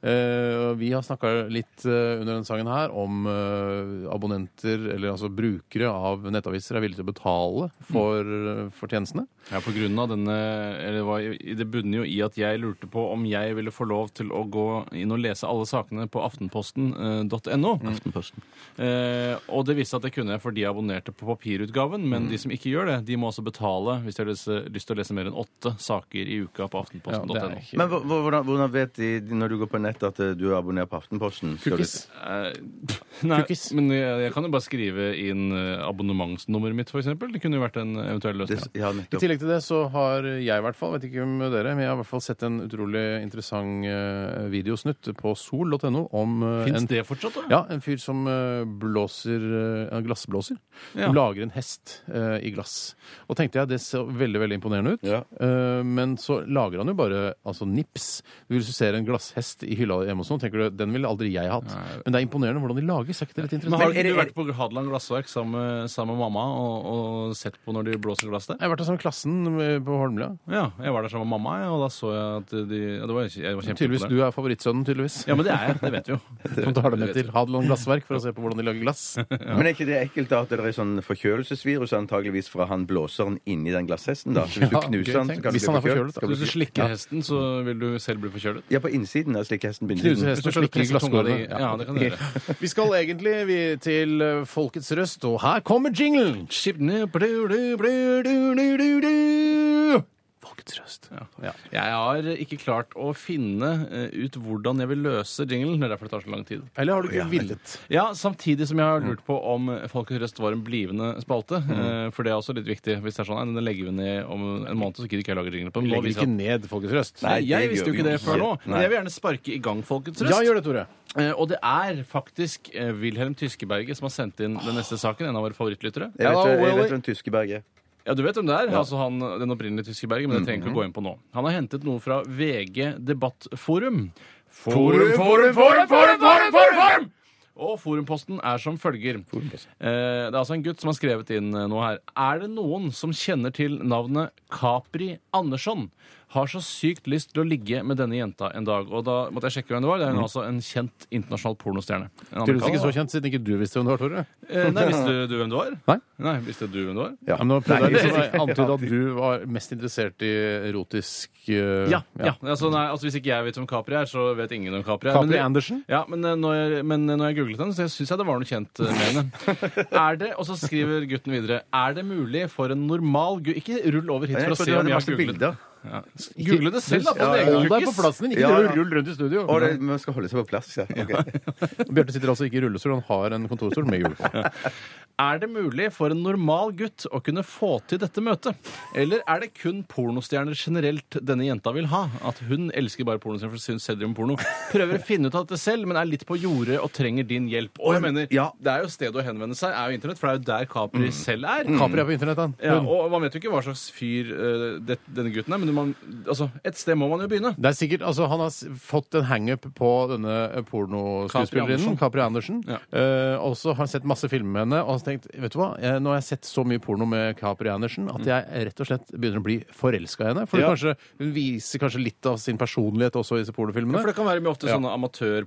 Eh, vi har snakka litt eh, under denne sangen her om eh, abonnenter, eller altså brukere av nettaviser, er villige til å betale for, for tjenestene. Ja, på grunn av denne eller det var, Det bunner jo i at jeg lurte på om jeg ville få lov til å gå inn og lese alle sakene på eh, aftenposten.no. Mm. Aftenposten. Eh, og det viste at det kunne jeg fordi jeg abonnerte på papirutgaven. Men Mm. de som ikke gjør det, de må også betale hvis de har lyst, lyst til å lese mer enn åtte saker i uka på Ja, aftenposten.no. det er ikke- Men hvor- hvor- hvordan, hvordan vet de når du går på nett at eh, du er abonnert på Aftenposten? Skal du- Cookies. Eh, Nei, Cookies. men jeg, jeg kan jo bare skrive inn eh, abonnementsnummeret mitt, f.eks. Det kunne jo vært en eventuell løsning. Det, ja, nettopp. I tillegg til det så har jeg i hvert fall, vet ikke om dere, men jeg har i hvert fall sett en utrolig interessant eh, videosnutt på sol.no om eh, Fins en, det fortsatt, da? ja, en fyr som eh, blåser eh, en glassblåser. Ja. Som lager en hest eh, i glass. Og tenkte jeg, det ser veldig veldig imponerende ut, Ja. Eh, men så lager han jo bare altså nips. Du, Hvis du ser en glasshest i hylla hjemme hos noen, tenker du den ville aldri jeg hatt. Men det er imponerende hvordan de lages. Er ikke det litt Men interessant? har ikke du vært på Hadeland glassverk sammen, med- sammen med mamma og, og sett på når de blåser glass der? Jeg har vært sammen med klassen eh, på Holmlia. Ja, jeg var der sammen med mamma, jeg, og da så jeg at de ja, det var, Jeg var Tydeligvis kjempeimponert. du er favorittsønnen, tydeligvis. Ja, men det er jeg. Det vet vi jo. Som tar det med vet til Hadeland Glassverk for å se på hvordan de lager glass. Men er ikke det ekkelt da at det er sånn forkjølelsesvirus antageligvis fra han blåseren inni den glasshesten? da? Så hvis Ja, du gøy knuser han, tenkt. så kan Hvis du han bli er forkjølet, forkjølet? da. Skal Hvis du du bli- slikker hesten, så vil du selv bli forkjølet. Ja, på innsiden der slikker hesten Knuser bindingen. hesten. Så slikker presser tunga di- glasskårene. Ja, det kan du gjøre. Vi skal egentlig vi, til eh, Folkets Røst, og her kommer jinglen! Skipne blu, blu, blu, du, du, du, du. Folkets Røst. Ja. Jeg har ikke klart å finne eh, ut hvordan jeg vil løse jinglen. Det er derfor det tar så lang tid. Eller har du ikke villet? Ja, Samtidig som jeg har lurt på om Folkets Røst var en blivende spalte. eh, For det er også litt viktig. Hvis det er sånn, nei, den legger vi ned om en måned, så gidder ikke jeg lage jingle på den. Vi Nå legger viser ikke jeg at- ned Folkets Røst. Nei, jeg det gjør visste jo vi ikke det ikke. før nå. Men Nei. jeg vil gjerne sparke i gang Folkets Røst. Ja, gjør det, Tore. Eh, Og det er faktisk eh, Wilhelm Tyskeberget som har sendt inn den neste saken. En av våre favorittlyttere. Jeg vet, Hello, jeg Willy. vet hvem Tyskeberg er. Ja, Mhm. du vet hvem det er. Altså han, den opprinnelige Tyskeberget, men det trenger ikke å gå inn på nå. Han har hentet noe fra VG Debattforum. Forum, forum, forum, forum, forum, forum, forum! Og forumposten er som følger. Eh, det er altså en gutt som har skrevet inn eh, noe her. Er det noen som kjenner til navnet Capri Andersson? har så sykt lyst til å ligge med denne jenta en dag. Og da måtte jeg sjekke hvem det var. Det er hun altså en kjent internasjonal pornostjerne. Tydeligvis En amerikaner. ikke så kjent siden ikke du visste hvem det var, Tore. Eh, Nei, visste du hvem det var? Nei. Nei, visste du hvem det var? Ja, men nå prøvde Nei, jeg liksom å antyde at du var mest interessert i erotisk eh, Ja. ja. Altså, nei, altså, hvis ikke jeg vet hvem Capri er, så vet ingen hvem Capri er. Capri Men- Andersen? Ja, men eh, når jeg, men eh, når jeg googlet henne, så syns jeg det var noe kjent eh, med henne. Er det, Og så skriver gutten videre Er det mulig for en normal gutt Ikke rull over hit Jeg for å trodde se det om var jeg har masse googlet. bilder. Ja. Google det selv, da. På Ja, din ja, egen Hold deg på kukkis. plassen din, ikke Ja, ja, ja. rull rundt i studio. Og det, man skal holde seg på plass, ja. Ok. Bjarte sitter altså ikke i rullestol, han har en kontorstol med hjul på. Er det mulig for en normal gutt å kunne få til dette møtet? Eller er det kun pornostjerner generelt denne jenta vil ha? At hun elsker bare pornostjerner for hun syns selv de gjør porno. Prøver å finne ut av dette selv, men er litt på jordet og trenger din hjelp. Og jeg mener, Ja. Det er jo stedet å henvende seg, er jo internett, for det er jo der Capri selv er. Mm. Capri er Mm. på internett, han. Ja, Hun. og man vet jo ikke hva slags fyr eh, det, denne gutten er, men man, altså, et sted må man jo begynne. Det er sikkert, altså Han har s- fått en hangup på denne eh, pornoskuespillerinnen, Capri Andersen. Ja. Eh, og så har han sett masse filmer med henne og har tenkt vet du hva, jeg, nå har jeg sett så mye porno med Capri Andersen at jeg rett og slett begynner å bli forelska i henne. For Mm. Ja. kanskje, hun viser kanskje litt av sin personlighet også i disse For pornofilmene. det kan være mye ofte Ja. Mm. sånne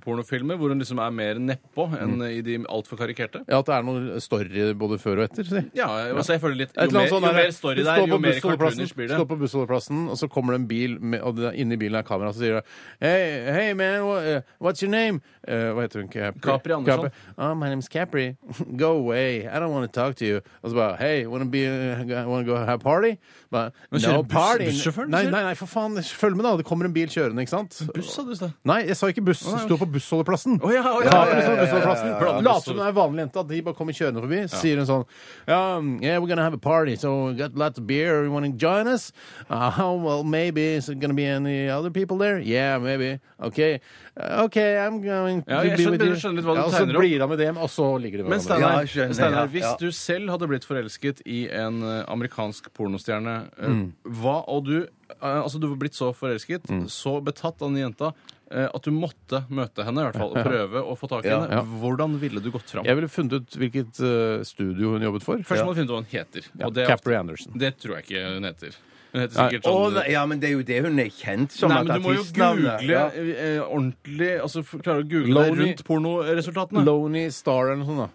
amatørpornofilmer hvor hun liksom er mer nedpå enn i de altfor karikerte. Ja, At det er noe story både før og etter. Si. Ja, jeg- altså jeg føler litt, jo, Et eller mer, annet jo sånn der, mer story du det står er, på jo mer bussholdeplassen, cartoonish blir Står det. på bussholdeplassen, og så kommer det en bil, med, og det, er- inni bilen er kamera, så sier det Hey, hey man, wha- eh, what's your name? Eh, hva heter hun? Capri, Capri Andersson. Oh, my name's Capri. Go away. I don't want to talk to you. Og så bare Hey, wanna, be, eh, wanna go have party? Bare, Men no kjører buss- party. bussjåføren, Nei, sier du? nei, nei, for faen. Følg med, da. Det kommer en bil kjørende, ikke sant? Buss, sa du i sted. Nei, jeg sa ikke buss. Det står på bussholdeplassen. Å ja, å ja, Kapri ja, ja, står på ja, bussholdeplassen. ja, ja, ja. Later som det er en vanlig jente, at de bare kommer kjørende forbi. Så sier hun sånn um, Yeah, we're gonna have a party, so we got lots of beer. You wanna join us? Uh, well, maybe. Is there gonna be any other people there? Yeah, maybe. Okay. Uh, okay, I'm going to Ja, jeg be skjønner- with you. skjønner litt hva du ja, og tegner så opp. blir han med dem, og så ligger de Men hverandre. Ja, Steinar, jeg skjønner, Steinar, ja, hvis ja. du selv hadde blitt forelsket i en eh, amerikansk pornostjerne, eh, hva og du eh, Altså, du var blitt så forelsket, så betatt av den jenta, eh, at du måtte møte henne, i hvert fall, og prøve å få tak i ja. henne. Hvordan ville du gått fram? Jeg ville funnet ut hvilket eh, uh, studio hun jobbet for. Først må du finne ut hva hun heter. Ja, og det, er Capri ofte- Anderson. det tror jeg ikke hun heter. Hun heter Nei, sikkert Å, sånn nei, ja, men det er jo det hun er kjent som. Nei, at men du må jo artistnavnet- google Ja. eh, ordentlig Altså f- klare å google Lonely- rundt pornoresultatene. Loney Star eller noe sånt. da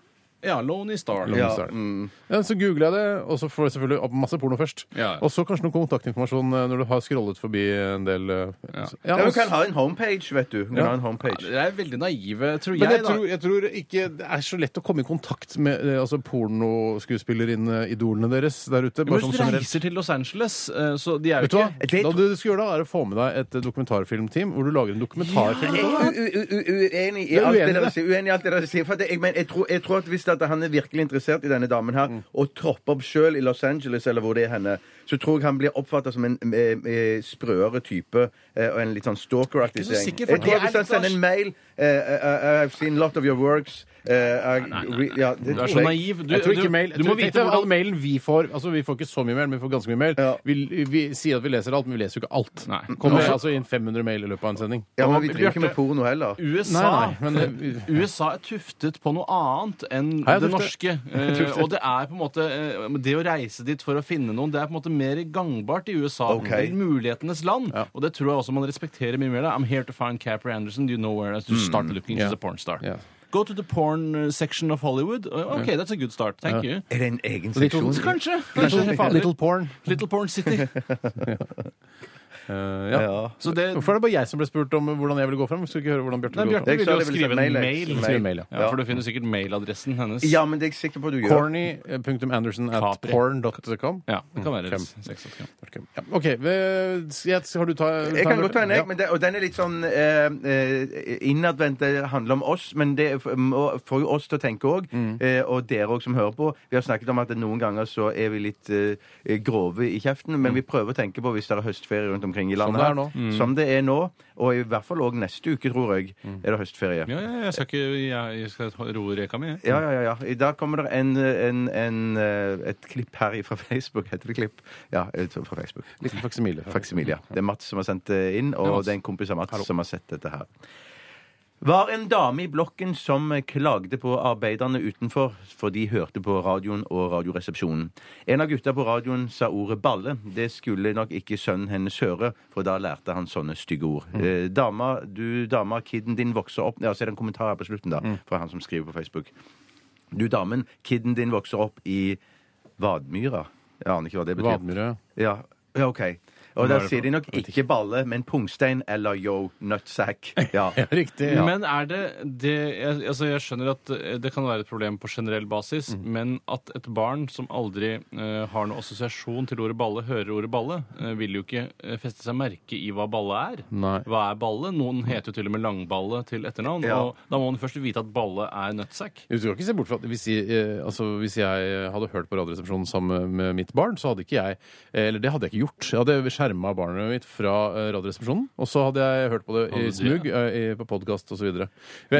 ja, Lonely Star. Ja. Ja, så googler jeg det, og så får jeg selvfølgelig opp masse porno først. Ja. Og så kanskje noe kontaktinformasjon eh, når du har scrollet forbi en del eh, ja, Ja, hun og- kan ha en homepage, vet du. Hun kan Ja. ha en homepage. Dere er veldig naive, tror Men jeg jeg. da. tror, jeg tror ikke det er så lett å komme i kontakt med eh, altså pornoskuespillerinnidolene deres der ute. Men Bare sånn Hvis du generelt. reiser til Los Angeles, eh, så de er jo Vet du hva? ikke Da du skal gjøre da, er å få med deg et eh, dokumentarfilmteam hvor du lager en dokumentarfilm. Jeg er u- u- u- Uenig i er alt uenig det i dere det. sier. Uenig i alt det dere sier. For det, jeg, men jeg, tror, jeg tror at Hvis at han er virkelig interessert i denne damen her, Mm. og tropper opp sjøl i Los Angeles, eller hvor det er henne, så tror jeg han blir oppfatta som en eh, eh, sprøere type eh, og en litt sånn stalkeraktig Ikke så sikker, for Jeg tror det at er litt Hvis han sånn- av- sender en mail eh, eh, eh, I've seen lot of your works eh, I re- ja, det Du er tror så jeg. naiv. Du, jeg tror ikke du, mail. du må vite all hvordan mailen vi får. Altså, vi får ikke så mye mail, men vi får ganske mye mail. Ja. Vi, vi sier at vi leser alt, men vi leser jo ikke alt. Nei. Kommer Også- altså inn 500 mail i løpet av en sending. Ja, men Vi driver ikke med Bjarte- porno heller. USA, Nei, nei, men- USA er tuftet på noe annet enn Hei, det tuftet. norske. eh, og det er på en måte eh, Det å reise dit for å finne noen, det er på en måte mer gangbart i USA. Ok. Det er Mulighetenes land. Og det tror jeg også man respekterer mye mer. da. I'm here to find Capri Anderson. Do you know where it is? Mm. You start looking. She's Yeah. a porn star. Yeah. Go to the porn eh, section of Hollywood. Eh, OK, that's a good start. Thank you. Er det en egen de to- seksjon? Så Kanskje. Little, Kanskje fader. little porn. Little Porn City. Uh, ja. Ja. Så det, Hvorfor er det bare jeg som ble spurt om hvordan jeg ville gå fram? Skal vi ikke høre hvordan Bjarte Nei, ville gå Bjarte fram? Jeg ville sa jo det ville skrive sagt en mail, mail. jeg. Skrive mail, ja. Ja, For du finner sikkert mailadressen hennes. Ja, men det er jeg sikker på du gjør. Corny.andersen eh, at Capri. porn.com. Ja, det kan være Fem. sex.com. Ja, OK. ved- jeg- Har du ta, Jeg kan godt ta en, jeg. Ja. men det, og den er litt sånn eh, eh, innadvendt. Det handler om oss, men det f- må- får jo oss til å tenke òg. Eh, og dere òg som hører på. Vi har snakket om at noen ganger så er vi litt eh, grove i kjeften, men vi prøver å tenke på hvis det er høstferie rundt omkring i landet. det er her. nå. Som det er nå. Og i hvert fall òg neste uke, tror jeg, er det høstferie. Ja, ja, jeg skal ikke jeg, jeg skal roe reka mi. jeg. Ja, ja, ja. ja. I dag kommer det en, en, en, eh, et klipp her fra Facebook. Heter det klipp? Ja, jeg tror fra Facebook. Liten faksimile. eh, Faksimilia. Det er Mats som har sendt det inn, og Mats. det er en kompis av Mats som har sett dette her. var en dame i blokken som eh, klagde på arbeiderne utenfor, for de hørte på radioen og Radioresepsjonen. En av gutta på radioen sa ordet balle. Det skulle nok ikke sønnen hennes høre, for da lærte han sånne stygge ord. Mm. Eh, dama, du dama, kiden din vokser opp Ja, så er det en kommentar her på slutten, da, Mm. fra han som skriver på Facebook. Du damen, kiden din vokser opp i Vadmyra. Jeg aner ikke hva det betyr. Vadmyra. Ja, ja ok. Og da sier de nok ikke balle, men pungstein eller yo, nutsack. Ja. Ja, riktig. Ja. Men er det, det jeg, altså jeg skjønner at det kan være et problem på generell basis, men at et barn som aldri eh, har noen assosiasjon til ordet balle, hører ordet balle, eh, vil jo ikke eh, feste seg merke i hva balle er. Nei. Hva er balle? Noen heter jo til og med langballe til etternavn. Ja. Og da må man først vite at balle er nøttsekk. Du skal ikke se bort fra at hvis jeg, eh, altså, hvis jeg hadde hørt på Radioresepsjonen sammen med mitt barn, så hadde ikke jeg eh, Eller det hadde jeg ikke gjort. Jeg hadde skjerma barnet mitt fra eh, Radioresepsjonen, og så hadde jeg hørt på det i Hadde du, smug, eh, i- på podkast osv.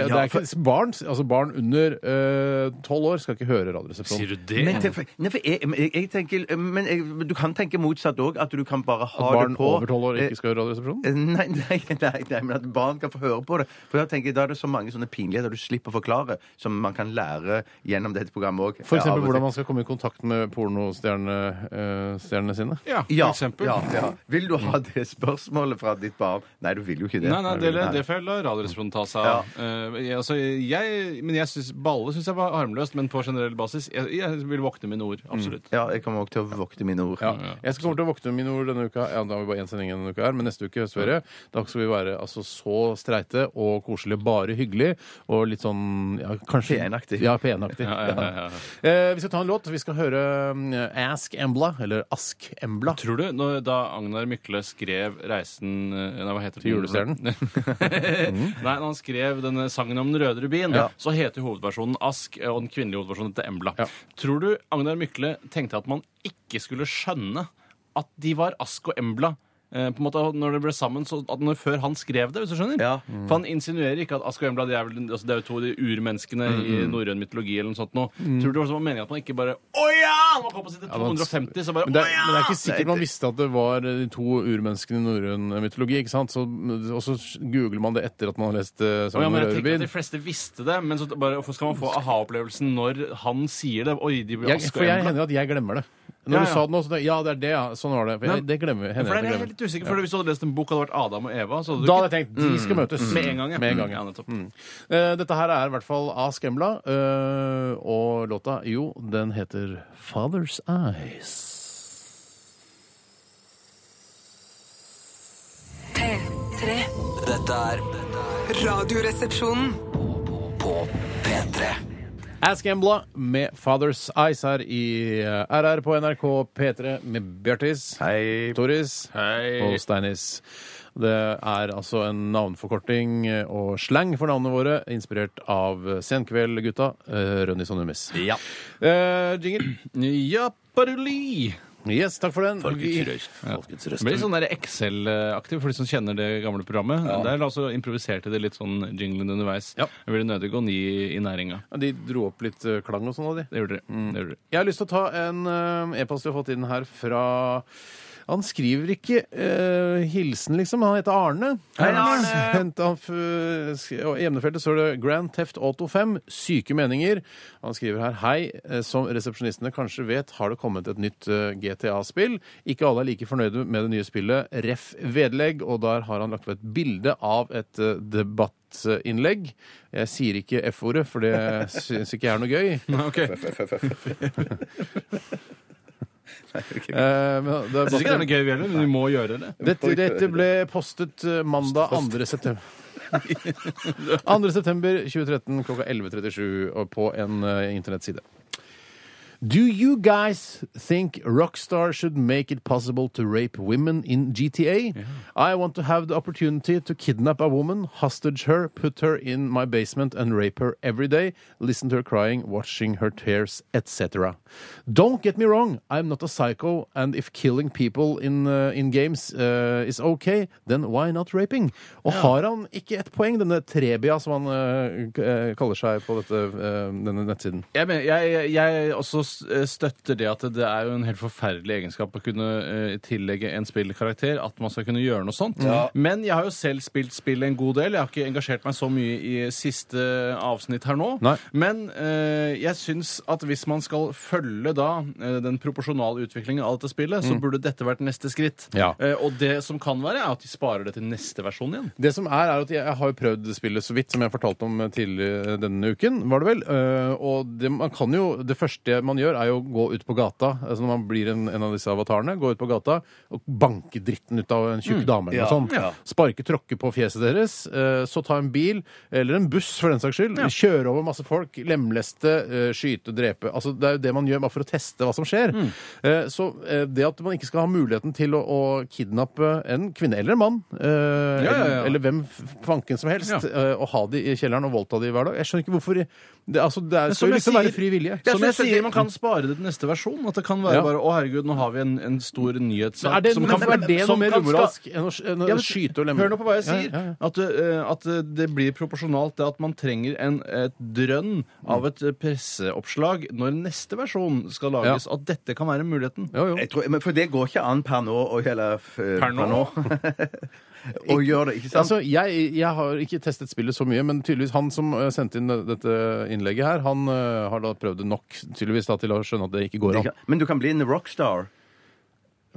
Barn altså barn under eh, tolv år skal ikke høre Radioresepsjonen. Sier du det? Men, til, nei, for jeg, jeg, jeg tenker, men jeg, du kan tenke motsatt òg, at du kan bare ha Barn det på over tolv år Eh, ikke skal høre Radioresepsjonen? eh, Nei, nei, nei, nei, men at barn kan få høre på det. For da tenker jeg, da er det så mange sånne pinligheter du slipper å forklare, som man kan lære gjennom dette programmet eh, òg. For eksempel hvordan man skal komme i kontakt med pornostjernene sine. Ja, for ja, eksempel. ja, ja. Vil du ha det spørsmålet fra ditt barn? Nei, du vil jo ikke det. Nei, nei, det, det får jeg la Radioresepsjonen ta seg av. Eh, jeg- altså, jeg, men jeg synes, balle syns jeg var harmløst, men på generell basis jeg, jeg vil våkne mine ord. Absolutt. Ja, jeg kommer òg til å vokte mine ord. Ja. Jeg skal komme til å våkne mine ord denne uka. Ja, da har vi bare én sending denne uka her, men neste uke høstferie. Da skal vi være altså så streite og koselige, bare hyggelig og litt sånn ja, kanskje PN-aktig. Ja, PN-aktig. Ja, ja, ja, ja. Eh, vi skal ta en låt. Vi skal høre mm, Ask Embla, eller Ask Embla. Tror du, når, da Agnar Mykle skrev 'Reisen' eh, Nei, hva heter Til julestjernen? nei, når han skrev denne sangen om den røde rubin, så heter hovedversjonen 'Ask', eh, og den kvinnelige hovedversjonen heter 'Embla'. Ja. Tror du Agnar Mykle tenkte at man ikke skulle skjønne at de var Ask og Embla? eh, På en måte når det ble sammen så at når, Før han skrev det, hvis du skjønner? Mm. Ja. For han insinuerer ikke at Ask og Embla de er, vel, altså, det er jo to av de urmenneskene i Mm, norrøn mytologi. eller noe sånt nå. Tror du det var meningen at man ikke bare Å ja! Når man kom på side man- 250, så bare Men det, Å er, ja! men det er ikke sikkert man visste at det var de to urmenneskene i norrøn mytologi. ikke sant? Så, og så googler man det etter at man har lest eh, Ja, sangen om men jeg Røde tenker at Rubin. De fleste visste det, men så bare, hvorfor skal man få aha-opplevelsen når han sier det? Oi, de blir Jeg, Ask for og jeg Embla. hender at jeg glemmer det. Når Ja, du ja. sa det nå, så tenkte jeg ja, det er det, ja. Sånn var det. For jeg, Men- det glemmer, For hender jeg at jeg der er jeg glemmer. litt usikker, for Hvis du hadde lest en bok hadde det vært Adam og Eva så Da hadde du ikke... hadde jeg tenkt de skal møtes. Med en gang, ja. Mm. Med en gang, Ja, ja. nettopp. Eh, Dette her er i hvert fall av Skemla, eh, og låta, jo, den heter Father's Eyes. P3. Dette er dette er Radioresepsjonen. på P3. Ask Embla med Father's Eyes her i eh, RR på NRK P3 med Bjartis, Hei. Toris Hei. og Steinis. Det er altså en navnforkorting eh, og slang for navnene våre, inspirert av Senkveld-gutta, eh, Rønnis og Nummis. Ja. Eh, jingle. Ja, paroli! Yes, takk for den. Vi- Det blir litt sånn der Excel-aktiv for de som kjenner det gamle programmet. Der altså improviserte de litt sånn jinglen underveis. Ja. Jeg ville nødig gå ny i næringa. Ja, De dro opp litt eh, klang og sånn av de. Det gjorde dere. Det gjorde dere. Jeg har lyst til å ta en eh, e-post vi har fått inn her fra han skriver ikke eh, hilsen, liksom. Han heter Arne. Hei, Arne! I emnefeltet står det Grand Theft Auto 5, syke meninger. Han skriver her Hei, eh, som resepsjonistene kanskje vet, har det kommet et nytt eh, GTA-spill. Ikke alle er like fornøyde med det nye spillet. Ref vedlegg, og der har han lagt ved et bilde av et eh, debattinnlegg. Jeg sier ikke F-ordet, for det syns ikke jeg er noe gøy. Eh, men det er Jeg syns ikke det er noe gøy, vi heller, men vi må gjøre det. dette, dette ble postet eh, mandag 2. september. 2. september 2013 klokka 11.37 og på en eh, internettside. Do you guys think Rockstar should make it possible to rape women in GTA? I want to have the opportunity to kidnap a woman, hostage her, put her in my basement and rape her every day, listen to her crying, watching her tears, etc. Don't get me wrong, I'm not a psycho, and if killing people in, uh, in games uh, is okay, then why not raping? Og har han ikke et poeng, denne Trebia som han uh, k- eh, kaller seg på dette, uh, denne nettsiden? Jeg, mener, jeg, jeg, jeg også s- eh, støtter det at det er jo en helt forferdelig egenskap å kunne eh, tillegge en spillkarakter at man skal kunne gjøre noe sånt. Men jeg har jo selv spilt spill en god del. Jeg har ikke engasjert meg så mye i siste avsnitt her nå. Nei. Men eh, jeg syns at hvis man skal følge da eh, den proporsjonale utviklingen av dette spillet, så burde dette vært neste skritt. Mm. Ja. Eh, og det som kan være, er at de sparer det til neste versjon igjen. Det som er, er at jeg har jo prøvd spillet så vidt, som jeg fortalte om eh, tidligere denne uken, var det vel. Eh, Og det, man kan jo, det første man gjør, er jo å gå ut på gata, altså når man blir en, en av disse avatarene, gå ut på gata og banke dritten ut av en tjukk dame eller noe sånt. Sparke tråkke på fjeset deres, eh, så ta en bil, eller en buss for den saks skyld, kjøre over masse folk, lemleste, eh, skyte, drepe. Altså det er jo det man gjør bare for å teste hva som skjer. Eh, Så eh, det at man ikke skal ha muligheten til å, å kidnappe en kvinne eller en mann, eh, Ja, ja, ja. eller- eller hvem f- fanken som helst, Ja. eh, og ha de i kjelleren og voldta de hver dag. Jeg skjønner ikke hvorfor Det, altså, det er, Men skal som jo jeg liksom være sier- fri vilje. Som jeg sier, man kan spare det til neste versjon. At det kan være Ja. bare 'Å, herregud, nå har vi en, en stor nyhetssak'. Er det, som men, kan- er det noe som mer kan ska- umoralsk enn å, sk- enn å Ja, men skyte og lemme? Hør nå på hva jeg Ja, sier. ja, ja. At, eh, at eh, det blir proporsjonalt det at man trenger en, et drønn av et eh, presseoppslag når neste versjon skal lages. At dette kan være muligheten. Jo, jo. Jeg tror, men for det går ikke an per nå å eller, f- per nå? Å gjøre det, ikke sant? Altså, jeg, jeg har ikke testet spillet så mye, men tydeligvis han som eh, sendte inn dette innlegget her, han eh, har da prøvd det nok tydeligvis da, til å skjønne at det ikke går Det an. kan- men du kan bli en rockstar.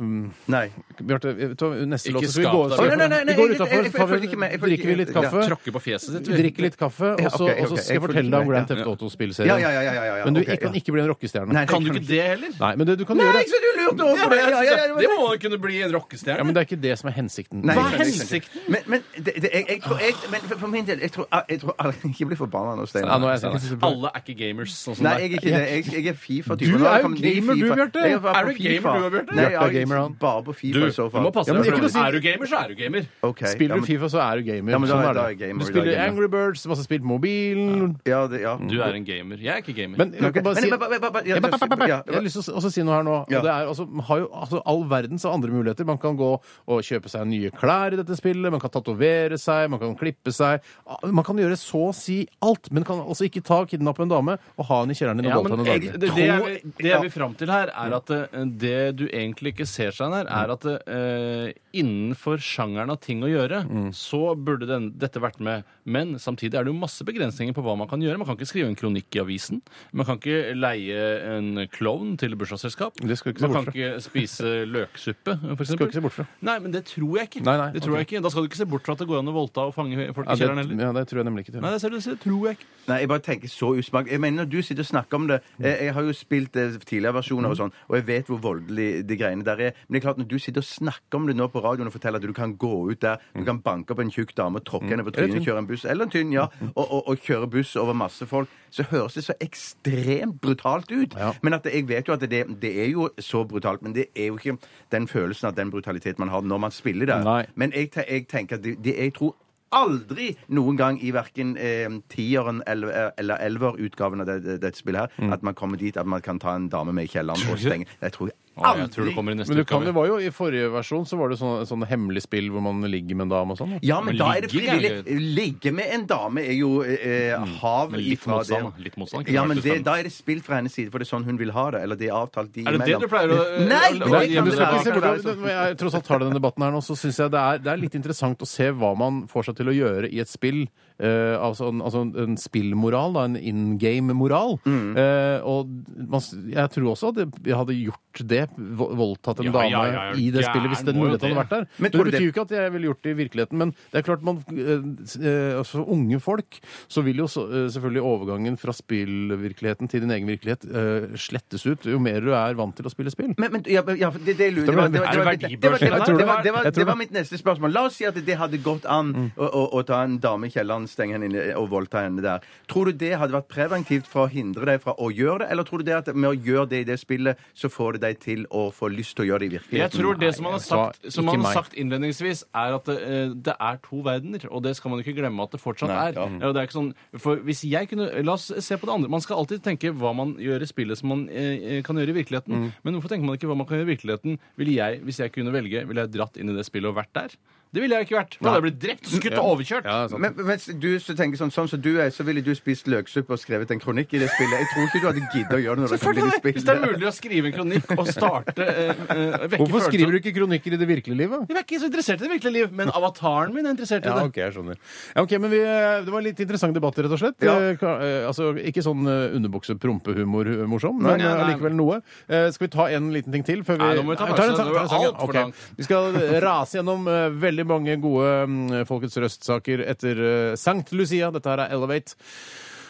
Mm, Nei. Bjarte, vet du hva, neste Ikke låt så skal vi skap gå, deg. så Å, nei, nei, nei, vi går jeg- jeg- jeg- utafor, tar jeg vi- følger ikke med, jeg følger drikker vi litt ikke- ja. kaffe, Tråkke på fjeset ditt. vi. drikker litt kaffe, og Ja, så og så ok, ok, skal jeg jeg følger fortelle deg om med, hvordan ja. Teft Auto-spillserie Ja, ja, ja, ja, ja, ja. Men du ok, ja. kan ikke bli en rockestjerne. Nei, det Kan du ikke det heller? Nei, men det du kan gjøre Nei, så du lurte over det! Ja, ja, ja, ja, det må man kunne bli en Ja, rockestjerne. men det er ikke det som er hensikten. Nei, Hva er jeg skjønner, jeg skjønner. hensikten? Men, men, det, det, jeg, jeg tror, jeg, men for, for min del Jeg tror, jeg tror Ikke bli forbanna nå, Ja, Steinar. nå er jeg sånn. sikker på- Alle er ikke gamers. sånn som deg. Nei, jeg er ikke det. Jeg, jeg er Fifa-typen. Du Nå er jo kommet ny gamer, du, FIFA. Bjarte. Jeg bare Er du på gamer, FIFA. du, Bjarte? Nei, Bjarte er jeg gamer, han. bare på Du, FIFA i så du fall. må passe Ja, men deg. ikke for noe det. si- Er du gamer, så er du gamer. Ok, Spiller ja, du men- Fifa, så er du gamer. Ja, men da sånn er- er da er jeg det. gamer, Du da er jeg spiller gamer. Angry Birds, masse spilt mobilen Ja, det, ja. Du er en gamer. Jeg er ikke gamer. Men jeg kan Men- bare si men- men- men- men- ja, Jeg bare- bare- bare- ja, jeg har lyst til å også si noe her nå. Ja. Og det er, altså, man har jo altså, all verdens andre muligheter. Man kan gå og kjøpe seg nye klær i dette spillet, man kan tatovere seg, man kan klippe seg. Ah, Man kan gjøre så å si alt, men kan altså ikke ta kidnappe en dame og ha henne i kjelleren din og Ja, voldta men henne jeg, daglig. det, det, jeg Tror- vil, det jeg vil fram til her, er at eh, det du egentlig ikke ser seg her, er at eh, innenfor sjangeren av ting å gjøre, Mm. så burde den, dette vært med. Men samtidig er det jo masse begrensninger på hva man kan gjøre. Man kan ikke skrive en kronikk i avisen. Man kan ikke leie en klovn til bursdagsselskap. Det skal du ikke se Man bort kan ikke spise løksuppe, for Skal du ikke eksempel. se bort fra. Nei, men det tror jeg ikke. Nei, nei, det tror ok. jeg ikke. Da skal du ikke se bort fra at det går an å voldta og fange folk Ja, i kjelleren det, heller. ja, det tror jeg nemlig ikke. til. Nei, det, ser du, det tror jeg ikke. Nei, jeg bare tenker så usmak. Jeg mener, når du sitter og snakker om det Jeg, jeg har jo spilt eh, tidligere Mhm. versjoner og sånn, og jeg vet hvor voldelig de greiene der er. Men det er klart, når du sitter og snakker om det nå på radioen og forteller at du kan gå ut der, Mhm. du kan banke opp en tjukk dame, tråkke henne på trynet, kjøre en buss, eller en tynn, ja, Mhm. og, og, og kjøre buss over masse folk, så høres det så ekstremt brutalt ut. Ja. Men at det, jeg vet jo at det, det er jo så brutalt, men det er jo ikke den følelsen av den brutaliteten man har når man spiller det. Nei. Men jeg, te- jeg tenker at det, det, jeg tror aldri noen gang i verken eh, tieren eller, eh, eller elver-utgaven av det- det- dette spillet her, Mm. at man kommer dit at man kan ta en dame med i kjelleren og stenge. Det tror jeg Å, aldri. jeg tror det kommer i neste Men du kan, det utgave. var jo I forrige versjon så var det sånn, sånn hemmelig spill hvor man ligger med en dame og sånn. Ja, men, Men da er det ligging er frivillig. Ligge med en dame er jo eh, hav Mm. Men litt ifra motstand, det. da. Litt motstand kunne ja, vært men litt det, spennende. da er det spilt fra hennes side, for det er sånn hun vil ha det. Eller det er avtalt de Er det det imellom. du pleier å- Nei! å- å- det Nei, kan men du skal det være- ikke se kan det være bort sånn. over- Når jeg tross alt tar denne debatten her nå, så syns jeg det er, det er litt interessant å se hva man får seg til å gjøre i et spill. eh, altså, en, altså en- en spillmoral, da, en in game-moral. Eh, og man, s- jeg tror også at jeg hadde gjort det, vo- voldtatt en Ja, dame ja, ja, ja, i det gæren spillet, hvis den må jo muligheten hadde det. vært der. Men Men, det tror du det- betyr jo ikke at jeg ville gjort det i virkeligheten. Men det er klart, man, eh, s- eh, altså, unge folk, så vil jo så, eh, selvfølgelig overgangen fra spillvirkeligheten til din egen virkelighet eh, slettes ut jo mer du er vant til å spille spill. Men, men ja, men- ja, for det, det lurer Dette ble- det var- det er var- det det var- verdibørs, det var- eller? det var- det var- Jeg tror Det var det. mitt neste spørsmål. La oss si at det hadde gått an å, å, å ta en dame i kjelleren, stenge henne inne og voldta henne der. Tror du det hadde vært preventivt for å hindre deg fra å gjøre det, eller tror du det at med å gjøre det i det spillet, så får det deg til til å få lyst til å gjøre det i Jeg virkeligheten. tror det som han har Så, sagt, som han ikke meg. har sagt innledningsvis, er at det, eh, det er to verdener, og det skal man ikke glemme at det fortsatt er. Ja, og Det er ikke sånn, for hvis jeg kunne, La oss se på det andre. Man skal alltid tenke hva man gjør i spillet som man eh, kan gjøre i virkeligheten. Mm. Men hvorfor tenker man ikke hva man kan gjøre i virkeligheten? Ville jeg, Hvis jeg kunne velge, ville jeg dratt inn i det spillet og vært der? Det ville jeg ikke vært. For da hadde jeg blitt drept, skutt og overkjørt. Ja, sant. Men mens du så tenker sånn, sånn som du er, så ville du spist løksuppe og skrevet en kronikk i det spillet. Jeg tror ikke du hadde giddet å gjøre det når du kom inn i Selvfølgelig! Hvis det er spillet. mulig å skrive en kronikk og starte eh, eh, vekke Hvorfor skriver du følelser- ikke kronikker i det virkelige livet? Jeg er ikke så interessert i det virkelige liv, men avataren min er interessert i det. Ja, ok, jeg skjønner. Ja, ok, men vi, eh, Det var en litt interessant debatt, rett og slett. Ja. Eh, ka- eh, Altså, Ikke sånn eh, underbukse-prompehumor morsom, men Nei, eh, nei. likevel noe. Eh, Skal vi ta en liten ting til? Før vi... Nei, nå må vi ta Nei, tar en pause. sang- Nå er det tar en sang, alt for ok. langt. Vi skal eh, rase gjennom eh, veldig mange gode mm, Folkets Røst-saker etter eh, Sankt Lucia. Dette her er Elevate.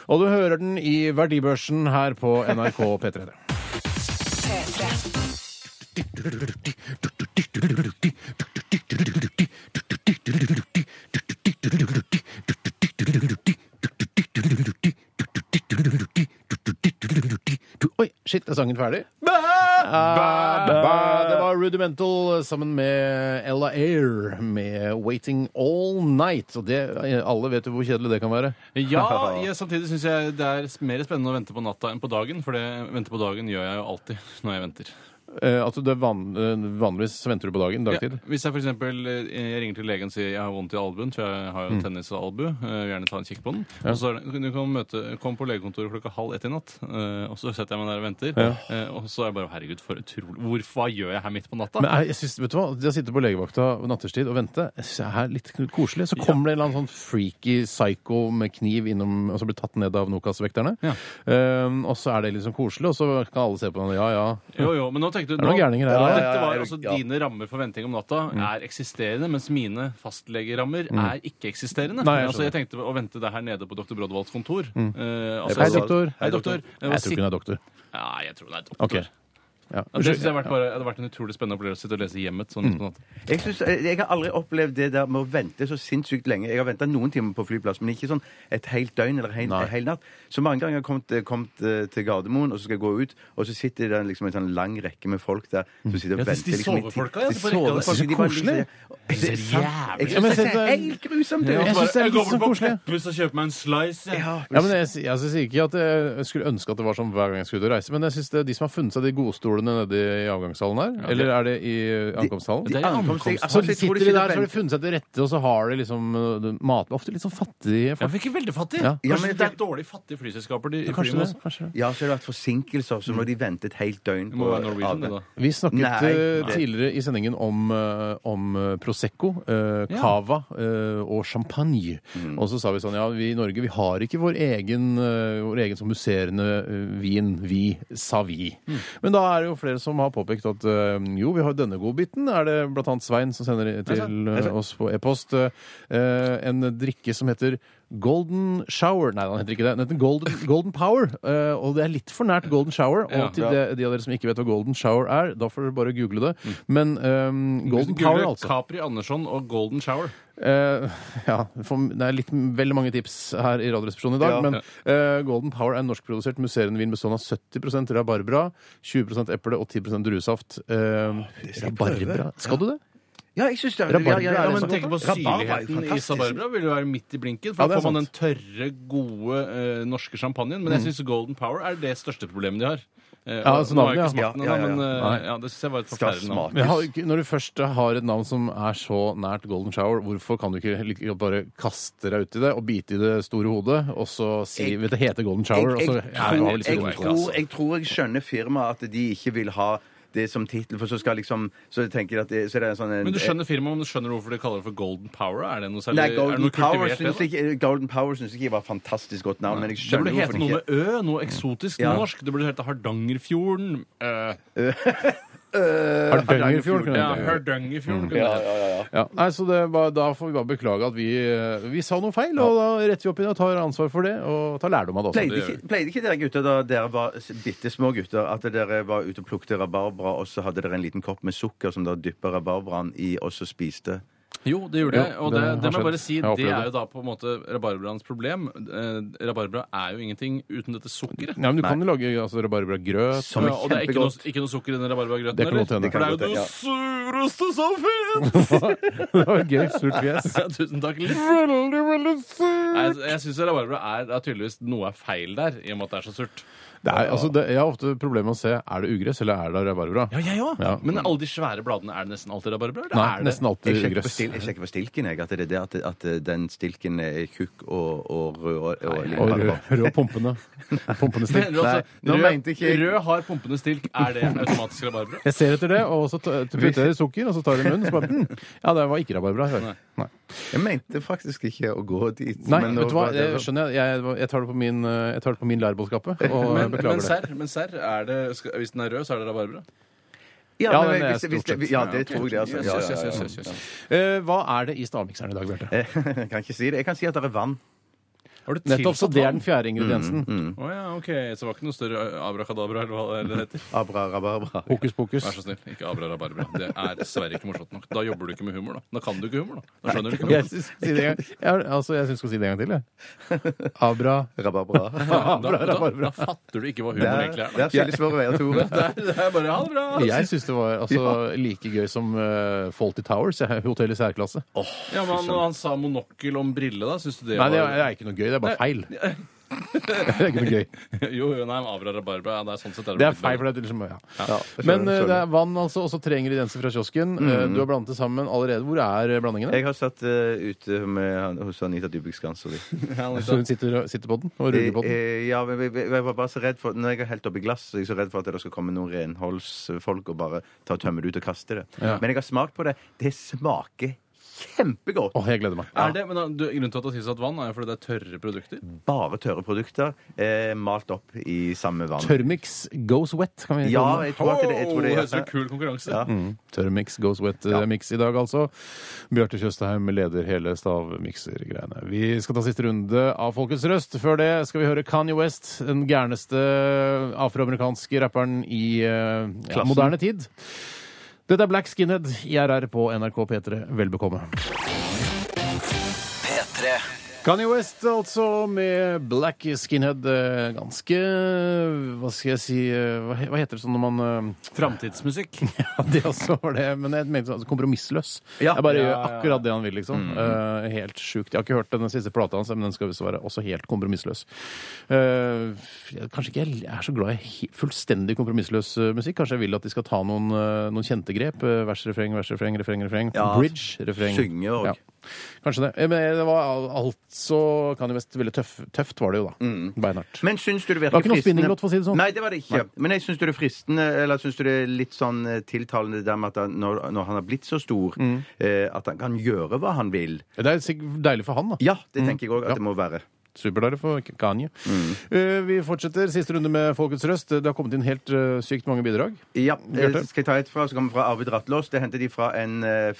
Og du hører den i Verdibørsen her på NRK P3. P3. Oi, shit, er sangen ferdig? Ba, Det var Rudimental eh, sammen med Ella Air med 'Waiting All Night'. Og det, eh, alle vet jo hvor kjedelig det kan være. Ja, jeg, samtidig syns jeg det er mer spennende å vente på natta enn på dagen. For det vente på dagen gjør jeg jo alltid når jeg venter. Eh, altså, det er van, eh, vanligvis venter du på dagen, Ja, dagtid. hvis jeg f.eks. ringer til legen og sier jeg har vondt i albuen, for jeg har jo tennis og albu, eh, vil gjerne ta en kikk på den. Og så er det, du kan møte, kom på legekontoret klokka halv ett i natt, eh, og så setter jeg meg der og venter. eh, Og så er jeg bare herregud, for utrolig Hvorfor, hva gjør jeg her midt på natta? Men jeg, jeg synes, vet du hva, det å sitte på legevakta nattestid og vente, jeg synes det er litt koselig. Så kommer det en eller annen sånn freaky psycho med kniv innom, og så blir tatt ned av Nokas-vekterne. Ja. Ehm, og så er det liksom koselig, og så kan alle se på den, ja, ja. Jo, jo, men nå tenkte du det noen gærninger her, nå- da? Dette var altså Dine rammer for venting om natta Mm. er eksisterende, mens mine fastlegerammer er ikke-eksisterende. Nei, jeg Mm. altså, jeg tenkte å vente deg her nede på dr. Brodvalds kontor. Eh, altså, Hei, doktor. Hei, doktor. Jeg tror ikke hun er doktor. Nei, jeg tror hun er doktor. Ok. Ja. Ja, det synes jeg har vært bare, det hadde vært en utrolig spennende opplevelse å sitte og lese Hjemmet. Mm. sånn midt på natta. Jeg, synes, eh, jeg har aldri opplevd det der med å vente så sinnssykt lenge. Jeg har venta noen timer på flyplass, men ikke sånn et helt døgn eller en Nei. hel, hel natt. Så mange ganger har jeg kommet, kommet eh, til Gardermoen, og så skal jeg gå ut, og så sitter det liksom en sånn lang rekke med folk der som sitter og Ja, de- de venter. liksom, i ti- sovefolka, ja, synes på rekke, og det de jeg sovefolka, er de bare ligger- koselig. Jeg synes det er sant. Jeg Ja, men synes det sett er deg- helt grusomt. det. Ja, Jeg synes synes- det er litt jeg går bort sånn på koselig. Peppes og kjøper meg en slice. jeg. Ja, men jeg, jeg synes ikke at jeg skulle ønske at det var sånn hver gang jeg skulle ut og reise, men jeg synes det er de som har funnet seg de godstolene nede i avgangshallen her, eller er det i eh, ankomsthallen? Det er ankomst- ankomst. jeg- Så altså, jeg tror sitter de sitter der, og så har de venter. funnet seg til rette, og så har de liksom uh, det- mat Ofte litt sånn fattige Jeg folk. fikk veldig fattig. Ja. Ja, Kanskje men- det er dårlig fattige flyselskaper. de flyr Kanskje med det. oss. Kanskje det. Ja, så har det vært forsinkelser, så må de vente et helt døgn. Det må være Norwegian, det, da. Vi snakket Nei, uh, nei. tidligere i sendingen om, uh, om uh, Prosecco, uh, Ja. Cava uh, og champagne. Mm. Og så sa vi sånn ja, vi i Norge vi har ikke vår egen, uh, vår egen sånn musserende uh, vin. Vi sa vi. Mm. Men da er det jo flere som har påpekt at uh, jo, vi har denne godbiten. Er det blant annet Svein som sender til uh, oss på e-post uh, uh, en drikke som heter Golden Shower. Nei, den heter ikke det. Den heter Golden, Golden Power. Uh, og det er litt for nært Golden Shower. Og Ja. til det, de av dere som ikke vet hva Golden Shower er, da får dere bare google det. Mm. Men um, Golden Google Power, altså. Capri Andersson og Golden Shower. Eh, ja, for, det er litt, veldig mange tips her i Radioresepsjonen i dag. Men eh, Golden Power er norskprodusert musserende vin bestående av 70 rabarbra, 20 eple og 10 druesaft. Eh, rabarbra? Skal du det? Ja, jeg synes det. Rabarbra ja, ja, ja, er Ja, det men men sant? tenk på Rabarbra er jo syrligheten i fantastisk. Sabarbra vil jo være midt i blinken. Ja, For det da er får man den sant. Mm. tørre, gode eh, norske champagnen. Men jeg syns Golden Power er det største problemet de har. Eh, Ja, og altså nå har jeg navnet, ikke ja. smakt den Ja, ja, ennå, ja. men eh, Nei. ja, det syns jeg var et Skal forferdelig navn. smake. Men jeg har, ikke- når du først har et navn som er så nært Golden Shower, hvorfor kan du ikke like godt bare kaste deg uti det og bite i det store hodet, og så si Jeg- vet du, det heter Golden Jeg, Shower? og jeg, så, tror- Ja, det var vel ikke jeg, noe egentlig, altså. tror, jeg tror jeg skjønner firmaet at de ikke vil ha det som tittel, for så skal liksom Så tenker de at det, så er det en sånn en- Men du skjønner firmaet, men du skjønner hvorfor de kaller det for Golden Power? Er det noe særlig Nei, er det Golden noe Power kultivert syns ved det? ikke, Golden Power synes ikke jeg var et fantastisk godt navn, men jeg Det skjønner burde hete hvorfor de noe ikke med Ø, noe eksotisk, noe Ja. norsk. Det burde hete Hardangerfjorden. eh, Hardangerfjorden kunne det ja, hete. Hardangerfjorden. kunne det hete. Ja, nei, så det var, Da får vi bare beklage at vi, eh, vi sa noe feil, og da retter vi opp i det og tar ansvar for det. Og tar lærdom av det også. Pleide ikke, pleide ikke dere gutter da dere var bitte små gutter, at dere var ute og plukte rabarbra, og så hadde dere en liten kopp med sukker som dere dyppa rabarbraen i, og så spiste? Jo, det gjorde Jo, jeg. Og det det, har det må jeg bare skjedd. si, Jeg har det opplevd er jo det. da på en måte rabarbraens problem. Eh, rabarbra er jo ingenting uten dette sukkeret. Nei, men du kan jo lage altså, rabarbragrøt. Som Ja, og det er ikke noe, kjempegodt. ikke noe sukker i den rabarbragrøten, Det kan godt hende. For det er jo Det kan godt det hende, sureste som fins! Det var gøy. Surt fjes. Ja, Tusen takk. Liv. Veldig, veldig surt. Nei, altså, Jeg, jeg syns rabarbra er, det er tydeligvis noe er feil der, i og med at det er så surt. Det er, altså, det, jeg har ofte problemer med å se er det ugress eller er det rabarbra. Ja, jeg òg. Ja. Men alle de svære bladene, er det nesten alltid rabarbra? eller Nei, er det- nesten Jeg alltid sjekker, på ugress. stil, jeg sjekker på stilken, jeg. At det er det at, at den stilken er tjukk og, og rød. Og, og litt Og rød, farge. rød pumpene. Pumpene Mener stilk. du altså, nå mente rød, ikke jeg- rød har pumpende stilk. Er det automatisk rabarbra? Jeg ser etter det, og så ta- putter jeg i sukker, og så tar jeg i munnen, og så bare mm, Ja, det var ikke rabarbra. Nei. Nei. Jeg mente faktisk ikke å gå dit. men nå vet du hva, var det- det skjønner jeg. Jeg, jeg tar det på min, eh, jeg tar det på min lærbålskappe og Men, men beklager det. serr, men serr, er det, skal, hvis den er rød, så er det rabarbra? Ja, Ja, men den er hvis- hvis stort det- sett. ja, det tror jeg det. Altså. Yes, Ja, yes, ja, ja, yes, ja. yes, yes, yes. Eh, hva er det i stavmikseren i dag, Bjarte? Jeg kan ikke si det. Jeg kan si at det er vann. Har du Nettopp, så tilsatt det er vann? den fjerde ingrediensen. Å ja, ok. Så det var ikke noe større abrakadabra, eller hva det heter? Abra, rabarbra. Hokus pokus. Vær så snill, ikke abrarabarbra. Det er dessverre ikke morsomt nok. Da jobber du ikke med humor, da. Da kan du ikke humor, da. Da skjønner du ikke Jeg humor. syns si det en gang- jeg- altså, jeg syns du skal si det en gang til, jeg. Abra Rabarbra. Da, da, da, abrarabarbra. da fatter du ikke hva Det humor er, egentlig er. det er veldig svårt å veie, Tore. Da. Det er- Det er bare ha det bra. Jeg syns det var altså, like gøy som eh, Fawlty Towers, jeg, hotell i særklasse. Ja, men han, han sa monokkel om brille, da. Syns du Nei, det var det er, det er ikke noe gøy. Det er bare feil. Det er ikke noe gøy. Jo, jo, nei, men abrarabarbra ja, det er sånn sett Det er feil, for det er liksom, ja. Men eh, det er vann, altså, og så tre ingredienser fra kiosken. Mm. Eh, Du har blandet det sammen allerede. Hvor er eh, blandingene? Jeg har satt eh, ute med, han- hos Anita Dybvik Skansoli. Så hun sitter, sitter på den og ruller på den? Eh, ja, men jeg, jeg var bare så redd for Når jeg har helt oppi glass, så er jeg så redd for at det skal komme noen renholdsfolk og bare ta og tømme det ut og kaste det. Men jeg har smakt på det. Det smaker kjempegodt. Åh, jeg gleder meg. Er det, men da, du, Grunnen til at det er tilsatt vann, er jo fordi det er tørre produkter. Bare tørre produkter eh, malt opp i samme vann. Tørrmix goes wet, kan vi Ja, kalle den. jeg tror at det, jeg tror det Åh, så kul konkurranse. Ja. Mm. Tørrmix goes wet-mix i dag, altså. Bjarte Tjøstheim leder hele stavmiksergreiene. Vi skal ta siste runde av Folkets røst. Før det skal vi høre Kanye West, den gærneste afroamerikanske rapperen i eh, ja, moderne tid. Dette er Black Skinhead, IRR på NRK P3. Vel bekomme. P3 Kanye West altså med Black Skinhead. eh, Ganske Hva skal jeg si eh, Hva he- hva heter det sånn når man eh, Framtidsmusikk. Ja, det også var det, men jeg mente sånn kompromissløs. Ja. jeg bare Ja, gjør ja, ja. akkurat det han vil, liksom. Eh, helt sjukt. Jeg har ikke hørt den siste plata hans, men den skal visst være også helt kompromissløs. Eh, jeg- kanskje ikke jeg er så glad i he- fullstendig kompromissløs eh, musikk. Kanskje jeg vil at de skal ta noen, eh, noen kjente grep. Eh, vers, refreng, vers, refreng, refreng, refreng. Ja. Bridge, refreng. Synge og- Kanskje det. Eh, Men det var al- altså Kanye West veldig tøff, tøft, var det jo da. Beinhardt. Mm. Men syns du det Det var virker ikke noe spinninglåt, for å si det sånn. Nei, det var det ikke. Men jeg syns du det er fristende, eller syns du det er litt sånn eh, tiltalende det der med at han, når, når han har blitt så stor, Mm. eh, at han kan gjøre hva han vil? Det er sikkert deilig for han, da. Ja, det tenker jeg òg at det må være. Superdeilig for Kanye. Mm. Eh, vi fortsetter siste runde med Folkets røst. Det har kommet inn helt eh, sykt mange bidrag. Ja, eh, Mm, Bjarte? Skal jeg ta et fra, som kommer fra Arvid Rattlås? Det hentet de fra en eh,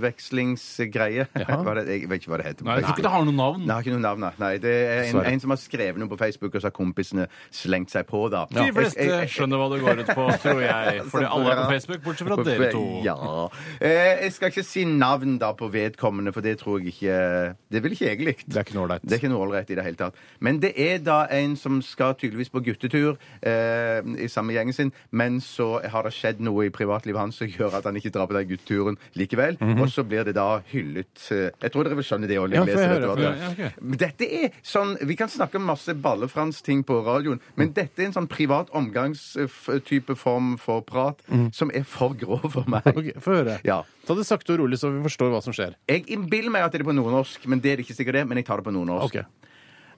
Facebook-utvekslingsgreie. Jaha. Hva er det- Jeg vet ikke hva det heter. på Nei, jeg tror Facebook. ikke det har noe navn. Nei, jeg har ikke noe navn, nei. nei. Det er en, Dessverre. en som har skrevet noe på Facebook, og så har kompisene slengt seg på, da. De fleste skjønner hva det går ut på, tror jeg. Fordi alle er på Facebook, bortsett fra dere to. Ja. Eh, Jeg skal ikke si navn da på vedkommende, for det tror jeg ikke Det vil ikke jeg likt. Det er ikke noe ålreit. Det er ikke noe ålreit i det hele tatt. Men det er da en som skal tydeligvis på guttetur eh, i samme gjengen sin, men så har det skjedd noe i privatlivet hans som gjør at han ikke drar på den gutteturen likevel. Og så blir det da hyllet eh, Jeg tror dere vil skjønne det òg. Mhm. Ja, får jeg høre, får jeg- ja, ok. Men Dette er sånn, Vi kan snakke om masse ballefrans-ting på radioen, men dette er en sånn privat omgangstype form for prat som er for grov for meg. Mhm. Ok, Få høre. Ja. Ta det sakte og rolig, så vi forstår hva som skjer. Jeg innbiller meg at det er på nordnorsk, men det er det ikke sikkert det, men jeg tar det på nordnorsk. Ok.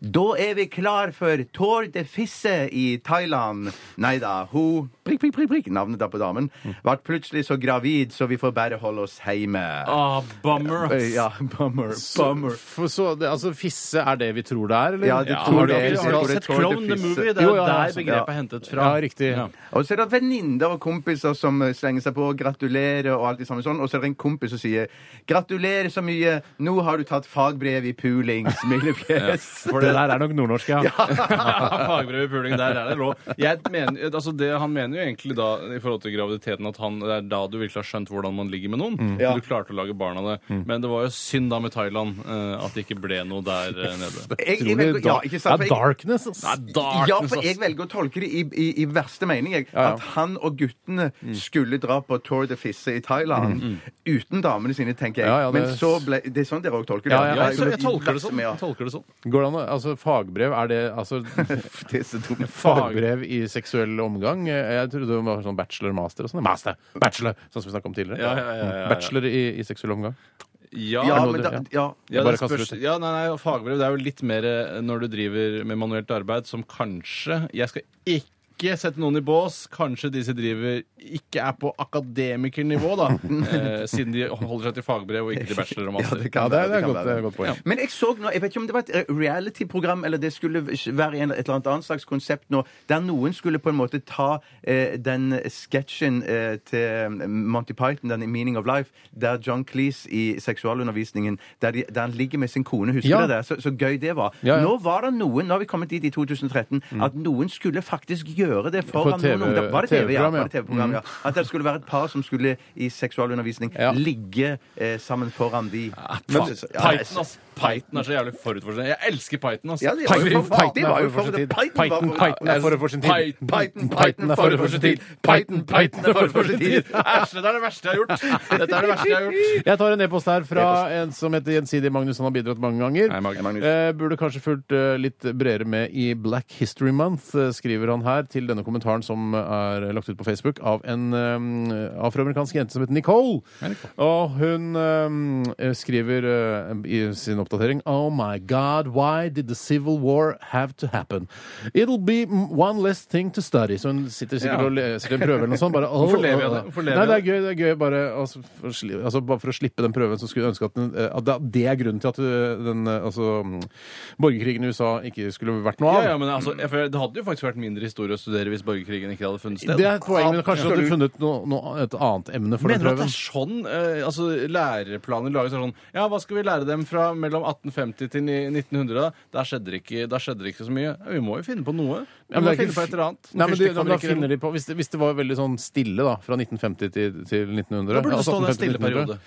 Da er vi klar for Tour de Fisse i Thailand. Nei da, hun prikk, prikk, prikk, prikk, navnet da på damen, ble plutselig så gravid, så vi får bare holde oss hjemme. Ah, bummer. ass. Eh, Ja, bummer. Bummer. For, så det, altså, fisse er det vi tror det er, eller? Ja, du Ja, tror har du, det er- har tror du det er sett Tour de Clone the Fisse. Movie? Det er Jo, jo ja, ja, der sånn, begrepet ja. er hentet fra. Ja, riktig. Ja. Og så er det venninner og kompiser som eh, slenger seg på og gratulerer og alt det samme sånn. Og så er det en kompis som sier 'Gratulerer så mye, nå har du tatt fagbrev i puling', smilefjes. For det der er nok nordnorsk, ja. Ja, Fagbrev i puling, der er det rå. Jeg mener, altså det han mener, jo egentlig da, i forhold til graviditeten, at han, det er da du virkelig har skjønt hvordan man ligger med noen. Ja. Du klarte å lage barn av det. Men det var jo synd da med Thailand eh, at det ikke ble noe der eh, nede. Jeg, jeg Utrolig velger, ja, dark- ikke det er sant? For jeg, darkness, ass. Nei, darkness, ja, for jeg sånn, ass. velger å tolke det i, i, i verste mening. Jeg, Ja, Mm. ja. At han og guttene skulle dra på Tour de Fisse i Thailand uten damene sine, tenker jeg. Mm, Ja, ja, det- Men så ble, det er sånn dere òg tolker det? Ja, ja, Ja, jeg, jeg, I tolker det verste sånn. med- Jeg tolker det sånn. Går det an å Altså, fagbrev, er det altså Det er så dumt. Fagbrev i seksuell omgang? Eh, Jeg trodde det var sånn bachelor, master og sånn. Master! Bachelor! Sånn som vi snakket om tidligere. Ja, ja, ja, ja, ja. Bachelor i, i seksuell omgang. Ja, Ja, noe men du- da, ja. Ja, Jeg det bare spørs, kaster ut det. ja, nei, nei, fagbrev det er jo litt mer eh, når du driver med manuelt arbeid, som kanskje Jeg skal ikke sette noen i bås. Kanskje de som driver, ikke er på akademikernivå, da. eh, siden de holder seg til fagbrev og ikke til bachelor og master. det Ja, kan det, være, er- det er kan godt, det eh, være. er godt poeng. Men jeg så nå, jeg vet ikke om det var et eh, reality-program, eller det skulle være en- et eller annet annet slags konsept nå, der noen skulle på en måte ta eh, den sketsjen eh, til Monty Python, den i Meaning of Life, der John Cleese i seksualundervisningen, der, de, der han ligger med sin kone, husker Ja. du det? Så, så gøy det var. Ja, ja. Nå var det noen, nå har vi kommet dit i 2013, at noen skulle faktisk gjøre det foran TV noen ungdom. Var det TV, ja? TV-program, ja. Mm. Var det TV-program, ja. At det skulle være et par som skulle i seksualundervisning Ja. ligge eh, sammen foran de. Men, Men- Ah, Python, ass. Python er så jævlig forut for sin Jeg elsker Python, ass. Ja, det var Python, jo for- Python det er var forut jo for sin tid. for- Python var Python, for- Python er forut for sin tid. Python, Python, Python er forut for sin tid. Python, Python er forut for sin tid. Æsj, dette er det verste jeg har gjort! Dette er det verste jeg har gjort. Jeg tar en e-post her fra en som heter Gjensidig Magnus. Han har bidratt mange ganger. Hei, Magnus. Eh, burde kanskje fulgt eh, litt bredere med i Black History Month, eh, skriver han her til denne kommentaren som er lagt ut på Facebook av en eh, afroamerikansk jente som heter Nicole. Og hun eh, skriver eh, i sin oppdatering Oh my God, why did the civil war have to happen? It'll be m- one less thing to study. Så hun sitter sikkert Ja. og leser en prøve eller noe sånt. Bare, oh, Hvorfor lever jeg oh, det? oh. Hvorfor lever Nei, jeg det er gøy, det er gøy bare, altså, for, å sli- altså, bare for å slippe den prøven, så skulle jeg ønske at, den, eh, at det- det er grunnen til at eh, den, eh, altså, mm, borgerkrigen i USA ikke skulle vært noe av. Ja, ja, men altså, jeg føler- Det hadde jo faktisk vært mindre historie å studere hvis borgerkrigen ikke hadde funnet sted. det er et poeng, men kanskje du hadde funnet noe, noe, et annet emne for den Mener du at prøven. det er sånn eh, altså, læreplaner lages er sånn Ja, hva skal vi lære dem fra mellom 1850 til ni- 1900? Da Der skjedde det ikke, der skjedde det ikke så mye. Ja, vi må jo finne på noe. Vi Ja, men må det er ikke finne på et eller annet. Nei, men Fyrstikker de, da, kommer da ikke- finner de på, hvis, det, hvis det var veldig sånn stille da, fra 1950 til, til 1900 Da burde det altså stå det 1850 til stille 1900. periode.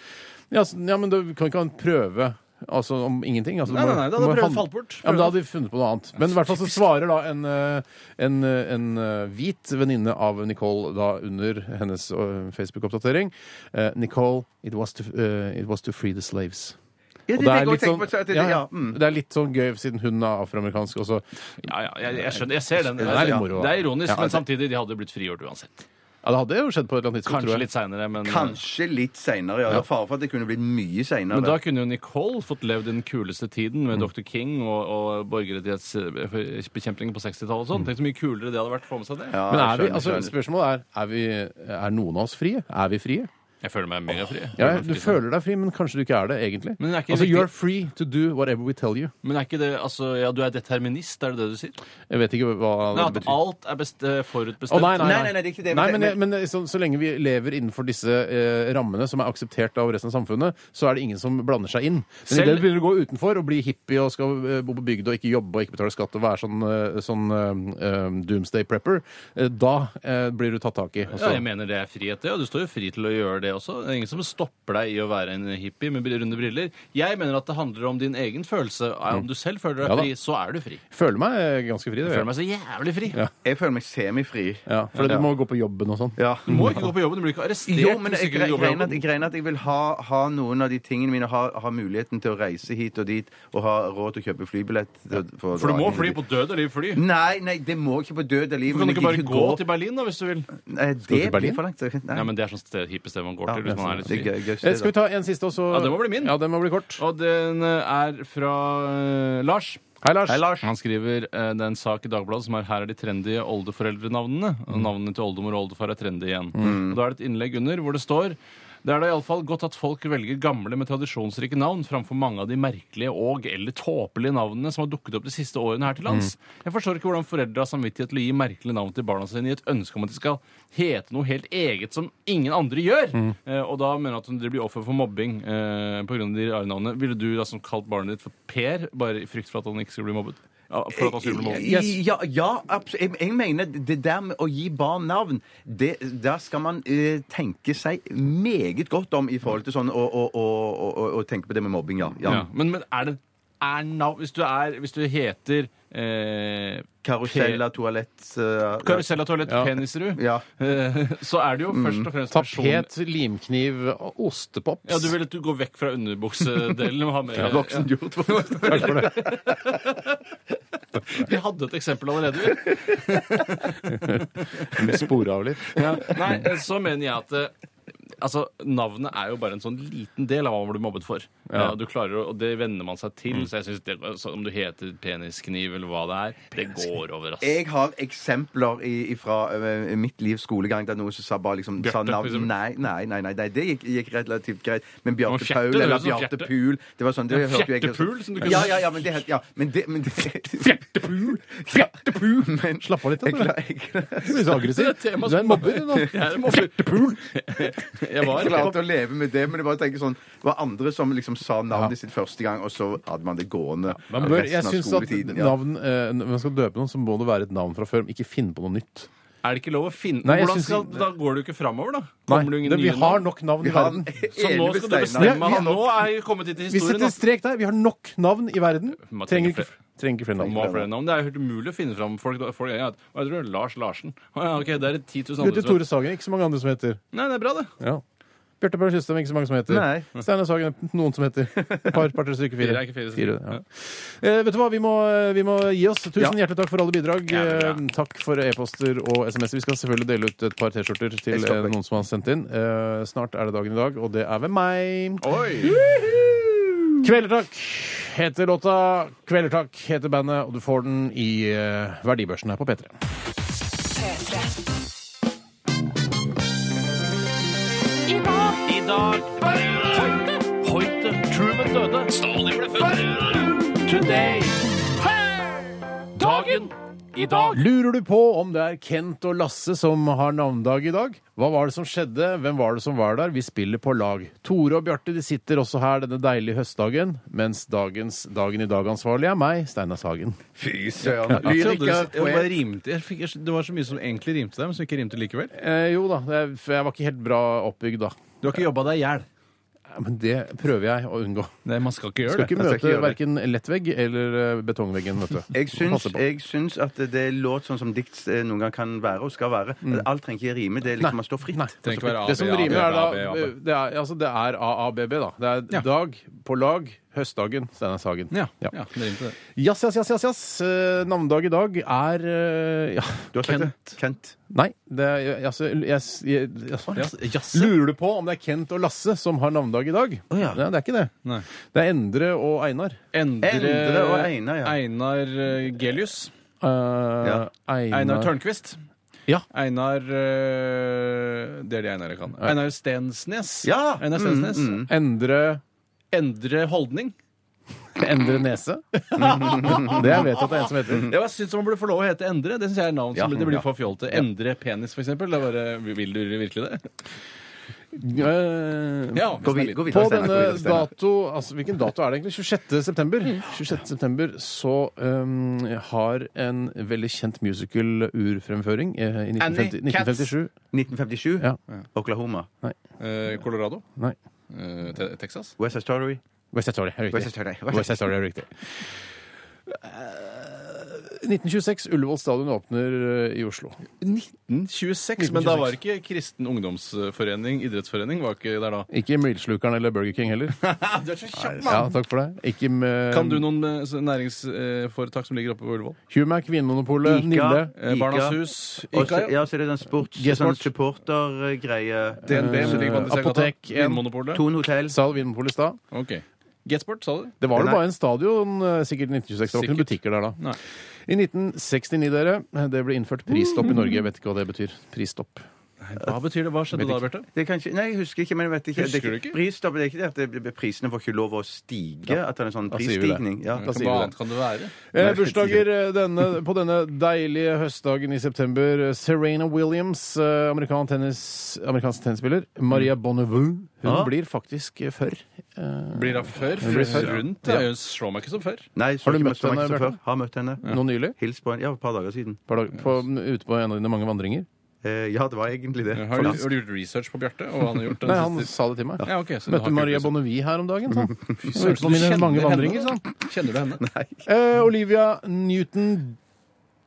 Ja, så, ja, men du kan ikke ha en prøve altså, om ingenting. Altså, du Nei, må- nei, nei, da du må hadde prøven hand- falt bort. Ja, men da hadde de funnet på noe annet. Men i hvert fall så svarer da en, eh, en, eh, en eh, hvit venninne av Nicole da under hennes eh, Facebook-oppdatering. Eh, Nicole, it was, to, eh, it was to free the slaves. Ja, Og det, det, går litt jeg tenker sånn- på, så at det, ja, ja, ja, mm. det er litt sånn gøy, siden hun er afroamerikansk også. Ja, ja, jeg, jeg skjønner. Jeg ser den. Det er litt moro, da. Det er ironisk, Ja, men samtidig, de hadde jo blitt frigjort uansett. Ja, det hadde jo skjedd på et eller annet tidspunkt, Kanskje tror litt jeg. seinere, men eh, Kanskje litt seinere, ja. Det er fare for at det kunne blitt mye Men da seinere. kunne jo Nicole fått levd den kuleste tiden Mm. med Dr. King og, og borgerrettighetsbekjempingen på 60-tallet og Mm. sånn. Tenk så mye kulere det hadde vært å få med seg det. Ja, Men er vi, skjønner, altså, skjønner. spørsmålet er er, vi, er noen av oss frie? Er vi frie? Jeg føler meg megafri. Ja, du føler deg fri, men kanskje du ikke er det, egentlig. Men det er ikke altså, riktig- you're free to do whatever we tell you. Men er ikke det altså, Ja, du er determinist, er det det du sier? Jeg vet ikke hva Nei, det at betyr. alt er best, eh, Å, forutbestemt? nei, nei, Nei, nei, nei, det er ikke det. Nei, Men- men, men, eh, så, så lenge vi lever innenfor disse eh, rammene som er akseptert av resten av samfunnet, så er det ingen som blander seg inn. Men Selv- idet du begynner å gå utenfor og bli hippie og skal eh, bo på bygda og ikke jobbe og ikke betale skatt og være sånn, eh, sånn eh, eh, doomsday prepper, eh, da eh, blir du tatt tak i. Ja, Altså. jeg mener det er frihet, det. Og du står jo fri til å gjøre det også. Det er ingen som stopper deg i å være en hippie med runde briller. Jeg mener at det handler om din egen følelse. Er- Om du selv føler Mm. Ja deg da. fri, så er du fri. Føler meg eh, ganske fri. Det, Jeg gjør jeg. føler meg så jævlig fri. Jeg føler meg semifri. ja, for du må gå på jobben og sånn. Ja. Du må ikke gå på jobben, du blir ikke arrestert. Jo, men hvis jeg ikke du gre- jobber på greien at, jobben. greien at jeg vil ha, ha noen av de tingene mine, ha, ha muligheten til å reise hit og dit og ha råd til å kjøpe flybillett. til å- å For dra du må hit og fly dit. på død eller fly. Nei, nei, det må ikke på død av liv. Du kan ikke bare gå til Berlin da, hvis du vil. Det til Berlin? blir for langt. Nei. Nei, men Det er sånn sted, hippested man går Ja, sånn. til hvis man er litt det er fri. gøy, gøy Eh, sted, Skal vi da. ta en siste, og så Ja, den må bli min. Ja, den må bli kort. Og den eh, er fra eh, Lars. Hei, Lars. Hei, Lars. Han skriver eh, det er en sak i Dagbladet som er her er de trendy oldeforeldrenavnene. Og Navnene til oldemor og oldefar er trendy igjen. Og Da er det et innlegg under hvor det står det er da iallfall godt at folk velger gamle med tradisjonsrike navn framfor mange av de merkelige og eller tåpelige navnene som har dukket opp de siste årene her til lands. Jeg forstår ikke hvordan foreldre har samvittighet til å gi merkelige navn til barna sine i et ønske om at de skal hete noe helt eget som ingen andre gjør. Eh, og da mener jeg at de blir offer for mobbing eh, pga. de rare navnene. Ville du da som kalt barnet ditt for Per, bare i frykt for at han ikke skulle bli mobbet? ja, for at han skulle bli moden. Ja, ja, abs- Jeg, jeg mener det der med å gi barn navn, det, der skal man eh, tenke seg meget godt om i forhold til sånn å, å, å, å, å- å tenke på det med mobbing, ja. ja. Ja. Men, men er det er nav, hvis, du er, hvis du heter eh, Karusell av toalett eh, Karusell av toalett Ja. Penisrud, Ja. eh, så er det jo først og fremst person- Tapet, limkniv, ostepops. Ja, du vil at du går vekk fra underbuksedelen og har med Voksen gjort. Takk for det. Ja, Vi hadde et eksempel allerede. vi. Med sporavler. Nei, så mener jeg at eh, Altså, Navnet er jo bare en sånn liten del av hva man blir mobbet for. Ja. du klarer, å- Og det venner man seg Mm. til. Så jeg synes det, så om du heter peniskniv eller hva det er, det går over. ass. Jeg har eksempler fra eh, mitt livs skolegang der noen som sa bare liksom sa Bjarte, for navn eksempel. Nei, nei, nei, nei, nei det gikk, gikk relativt greit. Men var Bjarte fjerte, Paul det eller høres ut som Bjarte fjerte. Pul Det var sånn det Ja, hørte jo jeg fjerte Pul, som du kunne- Ja, ja, ja, men det het ja, men det, men det Fjerte pul! Fjerte pul! men, Slapp av litt, da, Jeg Bjarte. klarer- jeg klarer- Du blir så aggressiv. Det er Du et er tema en som- mobber, du nå. Jeg er en mobber. Jeg var jeg en klarte å leve med det, men jeg bare tenker sånn Det var andre som liksom sa navnet sitt første gang, og så hadde man det gående Man bør, jeg resten av synes at skoletiden. ja. navn, eh, Når man skal døpe noen, så må det være et navn fra før. Men ikke finne på noe nytt. Er det ikke lov å finne Nei, jeg Hvordan synes- skal, Da går du ikke framover, da? Kommer du ingen det, vi nye har navn? nok navn i Vi har verden. Så nå skal Ene du Steinar. bestemme Vi- vi- Nå er vi kommet dit Vi i historien. setter ass. strek der. Vi har nok navn i verden. Man trenger Trenger ikke, flere. trenger ikke flere Må ha flere navn. navn. Det er jo helt umulig å finne fram folk. folk er, at, hva heter du? Lars Larsen? Å ja, ok, det er 10 000 andre Bjarte som Tore Sagen. Ikke så mange andre som heter. Nei, det er bra, det. Ja. Bjarte Paul Tjøstheim, ikke så mange som heter. Nei. Steinar Sagen, noen som heter. Et par, par, tre stykker, fire. Fire er ikke fire, sier du. ja. Eh, vet du hva, vi må, vi må gi oss. Tusen hjertelig takk for alle bidrag. Jævlig bra. Eh, takk for e-poster og SMS-er. Vi skal selvfølgelig dele ut et par T-skjorter til Jeg stopper. eh, noen som har sendt inn. Eh, snart er det dagen i dag, og det er ved meg. Oi! Kvelertak heter låta. Kvelertak heter bandet, og du får den i eh, verdibørsen her på P3. P3. I dag Hoite, Hoite, Truman døde. Stalin ble født. Today. Dagen i dag. Lurer du på om det er Kent og Lasse som har navnedag i dag? Hva var det som skjedde? Hvem var det som var der? Vi spiller på lag. Tore og Bjarte de sitter også her denne deilige høstdagen, mens dagens Dagen i dag-ansvarlig er meg, Steinar Sagen. Fy søren. Lyriker, poet. Det var så mye som egentlig rimte deg, men som ikke rimte likevel. Eh, jo da, jeg, for jeg var ikke helt bra oppbygd da. Du har ikke jobba deg i hjel. Ja, Men det prøver jeg å unngå. Nei, man skal ikke Skal gjøre det. ikke Jeg skal ikke møte gjøre det. verken lettvegg eller eh, betongveggen, vet du. Jeg syns, Passe på. jeg syns at det er låt sånn som dikt eh, noen gang kan være og skal være. Alt trenger ikke rime. Det er liksom man står fritt. Mm. Nei. trenger ikke være A, Det som B, A, B, rimer, er A, B, A, da B. Det er, altså, det er AABB, da. Det er dag på lag, høstdagen, Steinar Sagen. Ja, ja, det rimte det. Jass, jass, jass, jass, jass. Eh, navnedag i dag er eh, ja. Du har sagt Kent. det? Kent. Nei, det er jeg- altså, jeg- jeg- jeg- Lurer du på om det er Kent og Lasse som har navnedag i dag? ja. Nei, det er ikke det. Nei. Det er Endre og Einar. Endre, Endre og Einar, ja. Einar eh, Gelius. Eh, Einar, Einar Tørnquist. Ja. Einar eh, Det er det Einar jeg kan. Einar Stensnes. Ja! Mm, Einar Stensnes. Endre Endre Holdning. Endre Nese. det jeg vet at det er en som heter. Ja, jeg syns man burde få lov å hete Endre. Det synes jeg er navn som Ja, det blir ja. for fjolte. Endre Penis, for eksempel. Det er bare, vil du virkelig det? Eh, Ja, Gå, hvis den vid er gå liten. videre, På Steinar. Gå denne videre, Steinar. dato altså Hvilken dato er det egentlig? 26. september. Mm. 26. september så um, har en veldig kjent musical-urfremføring eh, i 1950, Annie Katz. 1957 1957. Ja. Oklahoma. Eh, Colorado. Nei. Eh, te Texas. West Side Story. West Side Story. er riktig. West Side Story. West Side Story er riktig. Eh, 1926. Ullevål stadion åpner eh, i Oslo. 1926. Men da var ikke Kristen ungdomsforening, idrettsforening, var ikke der da. Ikke Milslukeren eller Burger King heller. Du er så kjapp, Ja, takk for det. Ikke med Kan du noen eh, så- næringsforetak som ligger oppe på Ullevål? Humac, Vinmonopolet, Ica. Nille Eh, Barnas Ica. Hus. Og Ica, så- ja. ja, så er det den sports... G-Sport. Sånn supportergreie. DNB, som ligger på andre siden av Apotek, gata. Vinmonopolet. Thon hotell. Sal Vinmonopolet i stad. Ok. Getsport, sa du? Det var jo Nei. bare en stadion, eh, sikkert i 1926. Det var ikke noen Sikkert. butikker der da. Nei. I 1969, dere, det ble innført prisstopp i Norge. Jeg vet ikke hva det betyr. Prisstopp. Hva betyr det? Hva skjedde da, Bjarte? Det er kanskje, nei, jeg husker ikke, men jeg vet ikke. Husker det, er du ikke? Prisstopp, det er ikke det at det, blir- prisene får ikke lov å stige? At det er en sånn da sier vi det. prisstigning? Ja, da Hva sier vi annet kan det være? Eh, bursdager eh, denne, på denne deilige høstdagen i september. Eh, Serena Williams, eh, amerikan tennis, amerikansk tennisspiller. Maria Mm. Bonnevou. Hun Ah. Ja. blir faktisk eh, før. Eh, Blir hun før? Blir før. Rundt? Ja. Jeg slår meg ikke som før. Nei, så Har du ikke møtt så mange henne, som Bjarte? før. Har møtt henne. Nå nylig? Hils på henne. Ja, et par dager siden. Par dager- på, ute på en av dine mange vandringer? Eh, ja, det var egentlig det. Har du, har du gjort research på Bjarte? Og hva han har gjort den Nei, han siste sa det til meg. Ja, ok, så du har Møtte ikke Maria gjort det. Bonnevie her om dagen, sa han. Søren, Ute så på du mine kjenner mange henne? vandringer, sa han. Kjenner du henne? Eh, Olivia Newton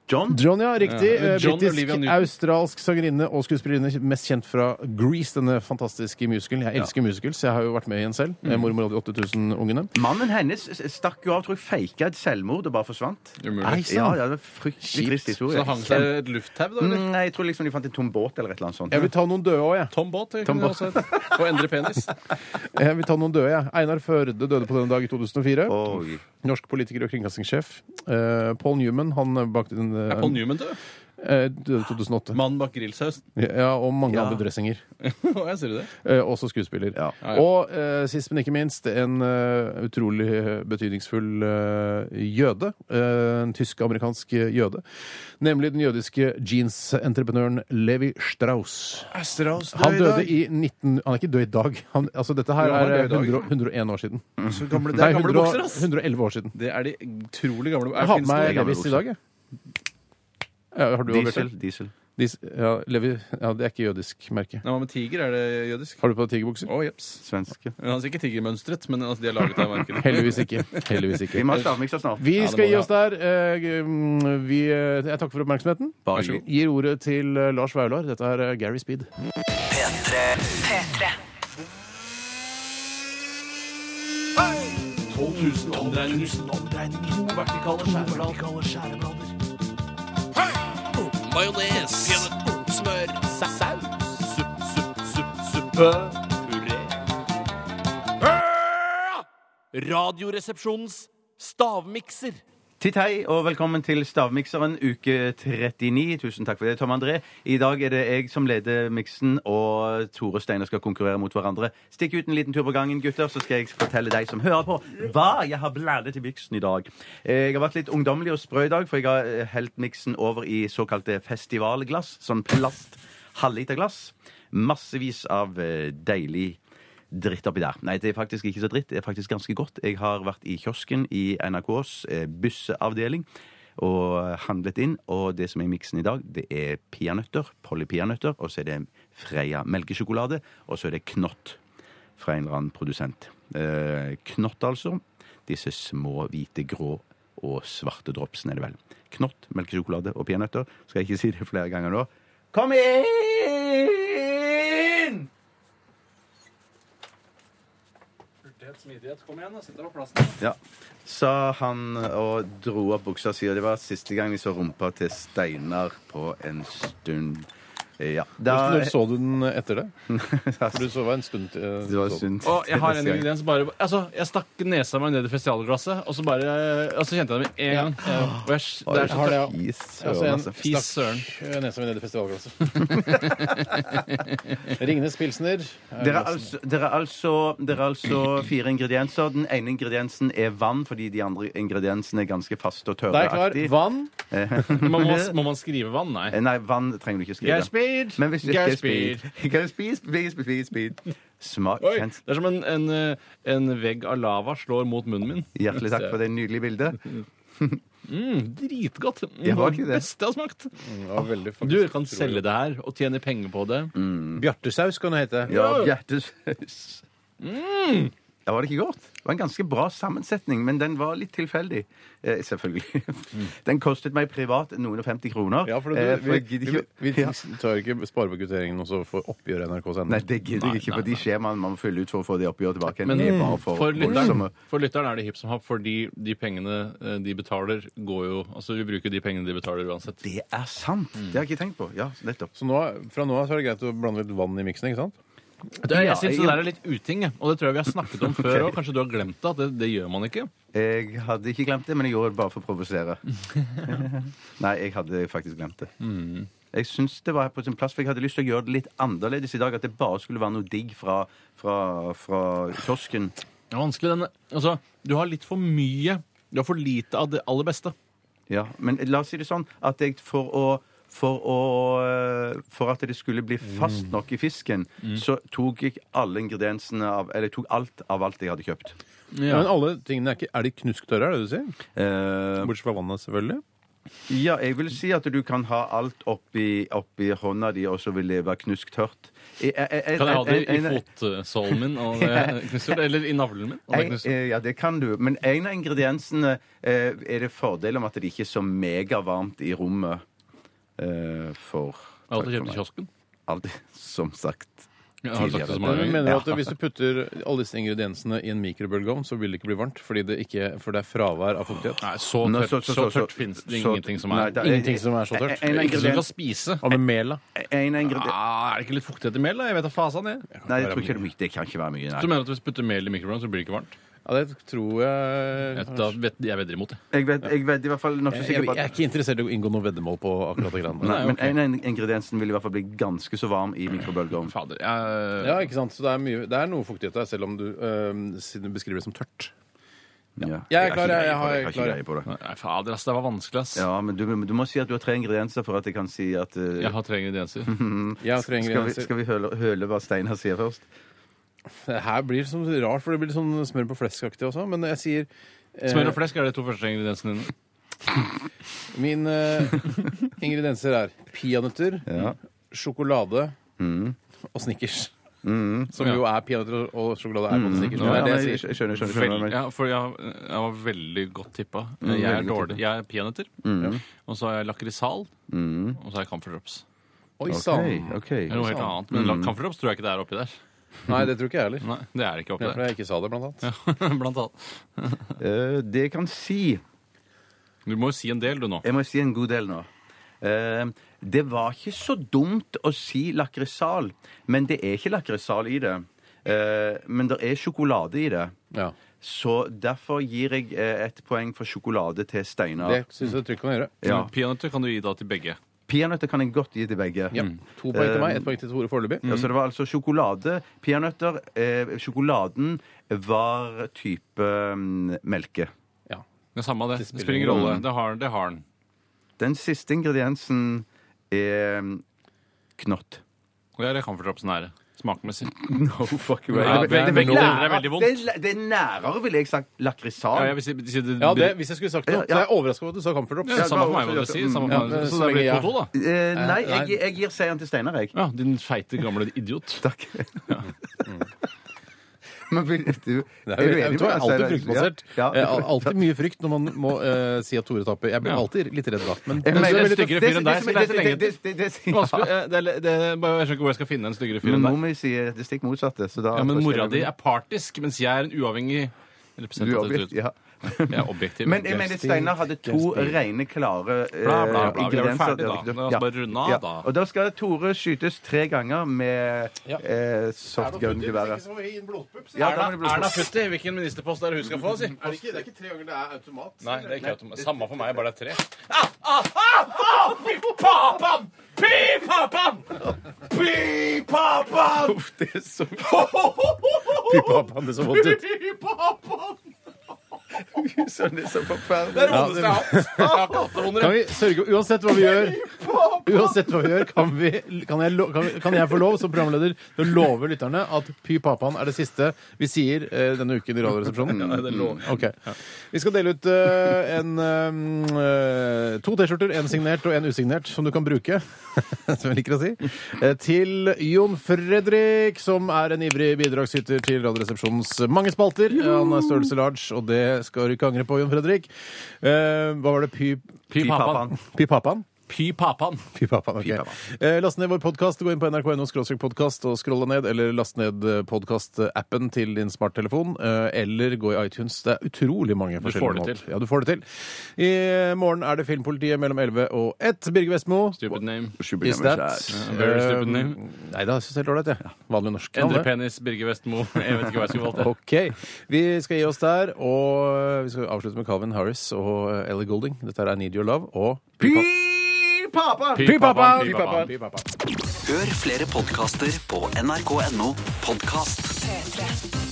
John? John, ja, riktig. Ja. Eh, John Britisk, Olivia Newton. australsk sangerinne og skuespillerinne. Mest kjent fra Grease, denne fantastiske musicalen. Jeg elsker musicals, jeg har jo vært med i en selv. Mm. Mormor og de 8000 ungene. Mannen hennes eh, stakk jo av, tror jeg, faka et selvmord og bare forsvant. Umulig. Ja, ja, det var en fryktelig Så trist historie. det hang seg et lufttau, da? Eller? Mm, Nei, jeg tror liksom de fant en tom båt eller et eller annet sånt. Jeg vil ta noen døde òg, jeg. Tom Båt? Tom Tom Båt. Og endre penis. jeg. vil ta noen døde, jeg. Einar Førde døde på denne dag i 2004. Oi. Norsk politiker og kringkastingssjef. Eh, Paul Newman han bak den, eh, Er Paul Newman død? eh, døde i 2008. Mannen bak grillsaus? Ja, Og mange Ja. andre dressinger. Å, jeg sier det. Eh, også skuespiller. Ja. Ja, ja. Og eh, sist, men ikke minst, en eh, utrolig eh, betydningsfull eh, jøde. Eh, en tysk-amerikansk jøde. Nemlig den jødiske jeansentreprenøren Levi Eh, Strauss. Han døde i 19... Han er ikke død i dag. Han, altså, dette her Jo, han er er eh, død i dag. 100, 101 år siden. Så gamle, Nei, gamle 100, bukser, ass! 111 år siden. Det er de utrolig gamle Jeg har finnes med meg det- gamle Levis i bukser. dag, jeg. Ja, har du også, Diesel. Bjarte? diesel. Dis- Ja, Levi, ja, det er ikke jødisk merke. Nei, hva med tiger? Er det jødisk? Har du på deg tigerbukser? Å, jeps. Svenske. Men Han er ikke tigermønstret, men altså, de er laget av markedet. Heldigvis ikke. Heldigvis Vi ikke. må ha stavmikser snart. Vi det skal må gi vi oss der. Eh, g- mm, Vi, eh, jeg takker for oppmerksomheten. Bare hyggelig. Gir ordet til eh, Lars Vaular. Dette er eh, Gary Speed. P3 P3. Radioresepsjonens stavmikser. Titt hei, og velkommen til Stavmikseren uke 39. Tusen takk for det, Tom André. I dag er det jeg som leder miksen, og Tore og Steinar skal konkurrere mot hverandre. Stikk ut en liten tur på gangen, gutter, så skal jeg fortelle deg som hører på, hva jeg har bladet i miksen i dag. Eh, Jeg har vært litt ungdommelig og sprø i dag, for jeg har eh, helt miksen over i såkalte festivalglass. Sånn plast halvliterglass. Massevis av eh, deilig dritt oppi der. Nei, det er faktisk ikke så dritt. Det er faktisk ganske godt. Jeg har vært i kiosken i NRKs eh, bysseavdeling og handlet inn. Og det som er i miksen i dag, det er peanøtter. Polly peanøtter. Og så er det Freia melkesjokolade. Og så er det Knott fra en eller annen produsent. Eh, knott, altså. Disse små, hvite, grå og svarte dropsene, er det vel. Knott, melkesjokolade og peanøtter. Skal jeg ikke si det flere ganger nå. Kom inn! Ja. Sa han og dro opp buksa si, og det var siste gang vi så rumpa til Steinar på en stund. Eh, Ja. Da, Når så du den etter det? For du det så var en stund til eh, var så den. synd. Og jeg har en Neste gang. ingrediens bare Altså, jeg stakk nesa meg ned i festivalglasset, og så bare Og så kjente jeg det med en gang. Og jeg, det er Jeg så har det, ja. Fy Jeg søren, så altså. en Fy søren. stakk eh, nesa mi ned i festivalglasset. Ringnes pilsner. er Dere er, glassen. altså, dere, er altså, dere er altså fire ingredienser. Den ene ingrediensen er vann, fordi de andre ingrediensene er ganske faste og Da er jeg klar. tørreaktige. Vann. Man må, må man skrive vann? Nei. Eh, Nei, vann trenger du ikke skrive. Jeg er speed. Men hvis du Jeg ikke er speed. Speed, speed, speed, speed. Smak, Oi, kjent. det er som en, en, eh, en vegg av lava slår mot munnen min. Hjertelig takk for det nydelige bildet. Dritgodt. Mm, Jeg var ikke det. beste jeg har smakt. Du kan selge det her og tjene penger på det. Mm. Bjartesaus kan det hete. Ja, hjertesaus. Ja, var det ikke godt? Det var en ganske bra sammensetning, men den var litt tilfeldig. Eh, selvfølgelig. Den kostet meg privat noen og 50 kroner. Ja, for, du, eh, vi, jeg gidder vi, ikke... vi Ja. tar ikke sparebekutteringen også for oppgjøret NRK Nei, sender. det gidder jeg ikke, for de skjemaene man må fylle ut for å få de oppgjøret tilbake igjen. Men er bare for, lytteren, voldsomme. for lytteren er det hipp som happ, fordi de pengene eh, de betaler, går jo Altså, vi bruker de pengene de betaler uansett. Det er sant! Det har jeg ikke tenkt på. Ja, nettopp. Så nå, fra nå av så er det greit å blande litt vann i miksen, ikke sant? Det, jeg Ja, synes jeg- det der er litt uting, jeg. og det tror jeg vi har snakket om før òg. Kanskje du har glemt det? At det, det gjør man ikke. Jeg hadde ikke glemt det, men jeg gjorde det bare for å provosere. Nei, jeg hadde faktisk glemt det. Jeg syns det var på sin plass, for jeg hadde lyst til å gjøre det litt annerledes i dag. At det bare skulle være noe digg fra, fra, fra kiosken. Det er vanskelig, den Altså, du har litt for mye. Du har for lite av det aller beste. Ja, men la oss si det sånn at jeg for å for, å, for at det skulle bli fast nok i fisken, så tok jeg alle ingrediensene av Eller tok alt av alt jeg hadde kjøpt. Ja. Men alle tingene er ikke Er de knusktørre, er det du sier? Eh, Bortsett fra vannet, selvfølgelig. ja, jeg vil si at du kan ha alt oppi, oppi hånda di, og så vil det være knusktørt. Kan jeg ha det i fotsålen min, og det knuser, eller i navlen min? Og det Jeg, knuser. eh, ja, det kan du. Men en av ingrediensene eh, er det fordel om at det ikke er så megavarmt i rommet eh, for Jeg har alltid kjøpt i kiosken. Alt, som sagt. Jeg har sagt det så mange Men ganger. mener du at hvis du putter alle disse ingrediensene i en mikrobølgeovn, så vil det ikke bli varmt? Fordi det, ikke, for det er fravær av fuktighet? Nei, så Nå, tørt, så, tørt fins det så- ingenting som er nei, det Ingenting som er så tørt. En, en, Ikke som du kan ingrediens, spise. Hva med mel, da? en ingrediens Ah, er det ikke litt fuktighet i mel? da? Jeg vet da fasen jeg. Nei, jeg tror ikke det, er mye. det kan ikke være mye. Du Nei. mener at hvis du putter mel i mikrofonen, så blir det ikke varmt? Ja, det tror jeg Jeg, da vet, jeg vedder imot det. Jeg vet, jeg vet i hvert fall nokså jeg, sikkert jeg, på jeg er at ikke interessert i å inngå noe veddemål på akkurat det greiene Nei, der. men en av ingrediensene vil i hvert fall bli ganske så varm i mikrobølgeovn. Fader. Jeg, Ja, ikke sant? Så det er, mye, det er noe fuktighet der, selv om du, øhm, siden du beskriver det som tørt. Ja. Jeg er klar, jeg- jeg har- Jeg har ikke klar. greie på det. Nei, fader, ass. Det var vanskelig, ass. Ja, men du, du må si at du har tre ingredienser for at jeg kan si at eh, Jeg har tre ingredienser. Jeg trenger Skal vi, grenser. skal vi høle, høle hva Steinar sier først? Det her blir sånn rart, for det blir litt sånn smør på flesk-aktig også. Men jeg sier eh, Smør og flesk er de to første ingrediensene dine. Mine eh, ingredienser er peanøtter, sjokolade Mm. og Snickers. Som jo er peanøtter og- og sjokolade er både Snickers. Mm. Ja, Det er det men jeg jeg sier. skjønner, skjønner, skjønner, Vel, men- ja, for jeg, jeg var veldig godt tippa. Jeg er veldig godt dårlig. Jeg er peanøtter. Og så har jeg lakrisal. Og så har jeg camferdrops. Oi sann! Ok, ok. Det er noe helt annet. Men mm. camferdrops tror jeg ikke det er oppi der. Nei, det tror ikke jeg heller. Nei, det er ikke oppi Ja, for der. jeg ikke sa det, blant annet. Blant annet. Eh, det jeg kan si Du må jo si en del, du nå. Jeg må si en god del nå. Eh, det var ikke så dumt å si lakrisal, men det er ikke lakrisal i det. Eh, men det er sjokolade i det. Ja. Så derfor gir jeg eh, et poeng for sjokolade til Steinar. Det syns jeg trygt kan gjøre. Ja. Peanøtter kan du gi da til begge. Peanøtter kan jeg godt gi til begge. Mm. Ja. Mm. To poeng til meg, ett poeng til Tore foreløpig. Eh, Ja, så det var altså sjokolade, peanøtter eh, Sjokoladen var type mm, melke. Ja. Det er samme av det. Det spiller spiller ingen ingen rolle. Det har, det har den. Den siste ingrediensen er mm, knott. Og jeg er camferdropsen nære. Smakmessig. No fuck way. Ja, det, begge- det, begge det, deler er veldig vondt. det, er- det er nærere, ville jeg sagt, lakrisal. Ja, jeg vil si, si det, Ja, det, hvis jeg skulle sagt noe, så Ja, er ja. jeg overraska over at du sa Comfort Drops. Ja, det er samme det for var meg, vil jeg også- si. Samme Ja, for meg. så Så det lenge blir jeg- 2-2, da. Eh, nei, Eh, nei. jeg, jeg gir seieren til Steinar, jeg. Ja, din feite, gamle idiot. Takk. Mm. Men vil du Det Er er, jo- du jeg enig tror med jeg meg, er alltid Steinar? fryktbasert. Ja, Jeg ja. Eh, har Alltid mye frykt når man må eh, si at Tore taper. Jeg blir Ja. alltid litt redd da. Men Men Jeg så mener- er det styggere fyr enn deg, så det- det er så lenge det- det- det- det- det- Vanskelig. eh, Det, er- det, er bare- jeg skjønner ikke hvor jeg skal finne en styggere fyr Men enn nå deg. må vi si det stikk motsatte. Så da, Ja, men mora di er partisk, mens jeg er en uavhengig Du er representativ. objekt, ja. Jeg er objektiv. Men jeg mener Steinar hadde to rene, klare eh, Bla, bla, bla. Vi er vel ingredienser. ferdig Det hadde da. ikke- La oss Ja. bare runde av, Ja. da. Og da skal Tore skytes tre ganger med eh, softgun-geværet. Ja, da må det bli Erna Futti, hvilken ministerpost er det hun skal få? Si? det, ikke, tre ganger det er automat. Nei, det er ikke automat. Samme for meg, bare det er tre. ah! Fy pappaen, det så vondt ut. Sånn, det er så forferdelig. Ja, det- Kan vi sørge Uansett hva vi gjør, uansett hva vi gjør kan, vi, kan, jeg, lo- kan, vi, kan jeg få lov som programleder til å love lytterne at Py papaen er det siste vi sier eh, denne uken i Radioresepsjonen? Ok. Vi skal dele ut eh, en, eh, to T-skjorter, en signert og en usignert, som du kan bruke, som jeg liker å si, eh, til Jon Fredrik, som er en ivrig bidragsyter til Radioresepsjonens mange spalter. Han er størrelse large, og det skal du ikke angre på, Jon Fredrik. Eh, hva var det? Py... Py papan. Py papaen? Py papan. Fy pappaen, ok. Eh, last ned vår podkast. Gå inn på nrk.no podkast og scroll ned, eller last ned podkast-appen til din smarttelefon. eh, Eller gå i iTunes. Det er utrolig mange får forskjellige det måter. til. Ja, du får det til. I morgen er det Filmpolitiet mellom 11 og 1. Birger Vestmo. Stupid name. Is that Very stupid Eh, name. Nei, det synes jeg er helt ålreit, jeg. Vanlig norsk. navn, Endre det. penis, Birger Vestmo. Jeg vet ikke hva jeg skulle valgt. Ok. Vi skal gi oss der, og vi skal avslutte med Calvin Harris og Ellie Golding. Dette er I Need Your Love og Py Pipa! pappa! Pypappa! Pypappa. Pypappa. Hør flere podkaster på nrk.no podkast. P3.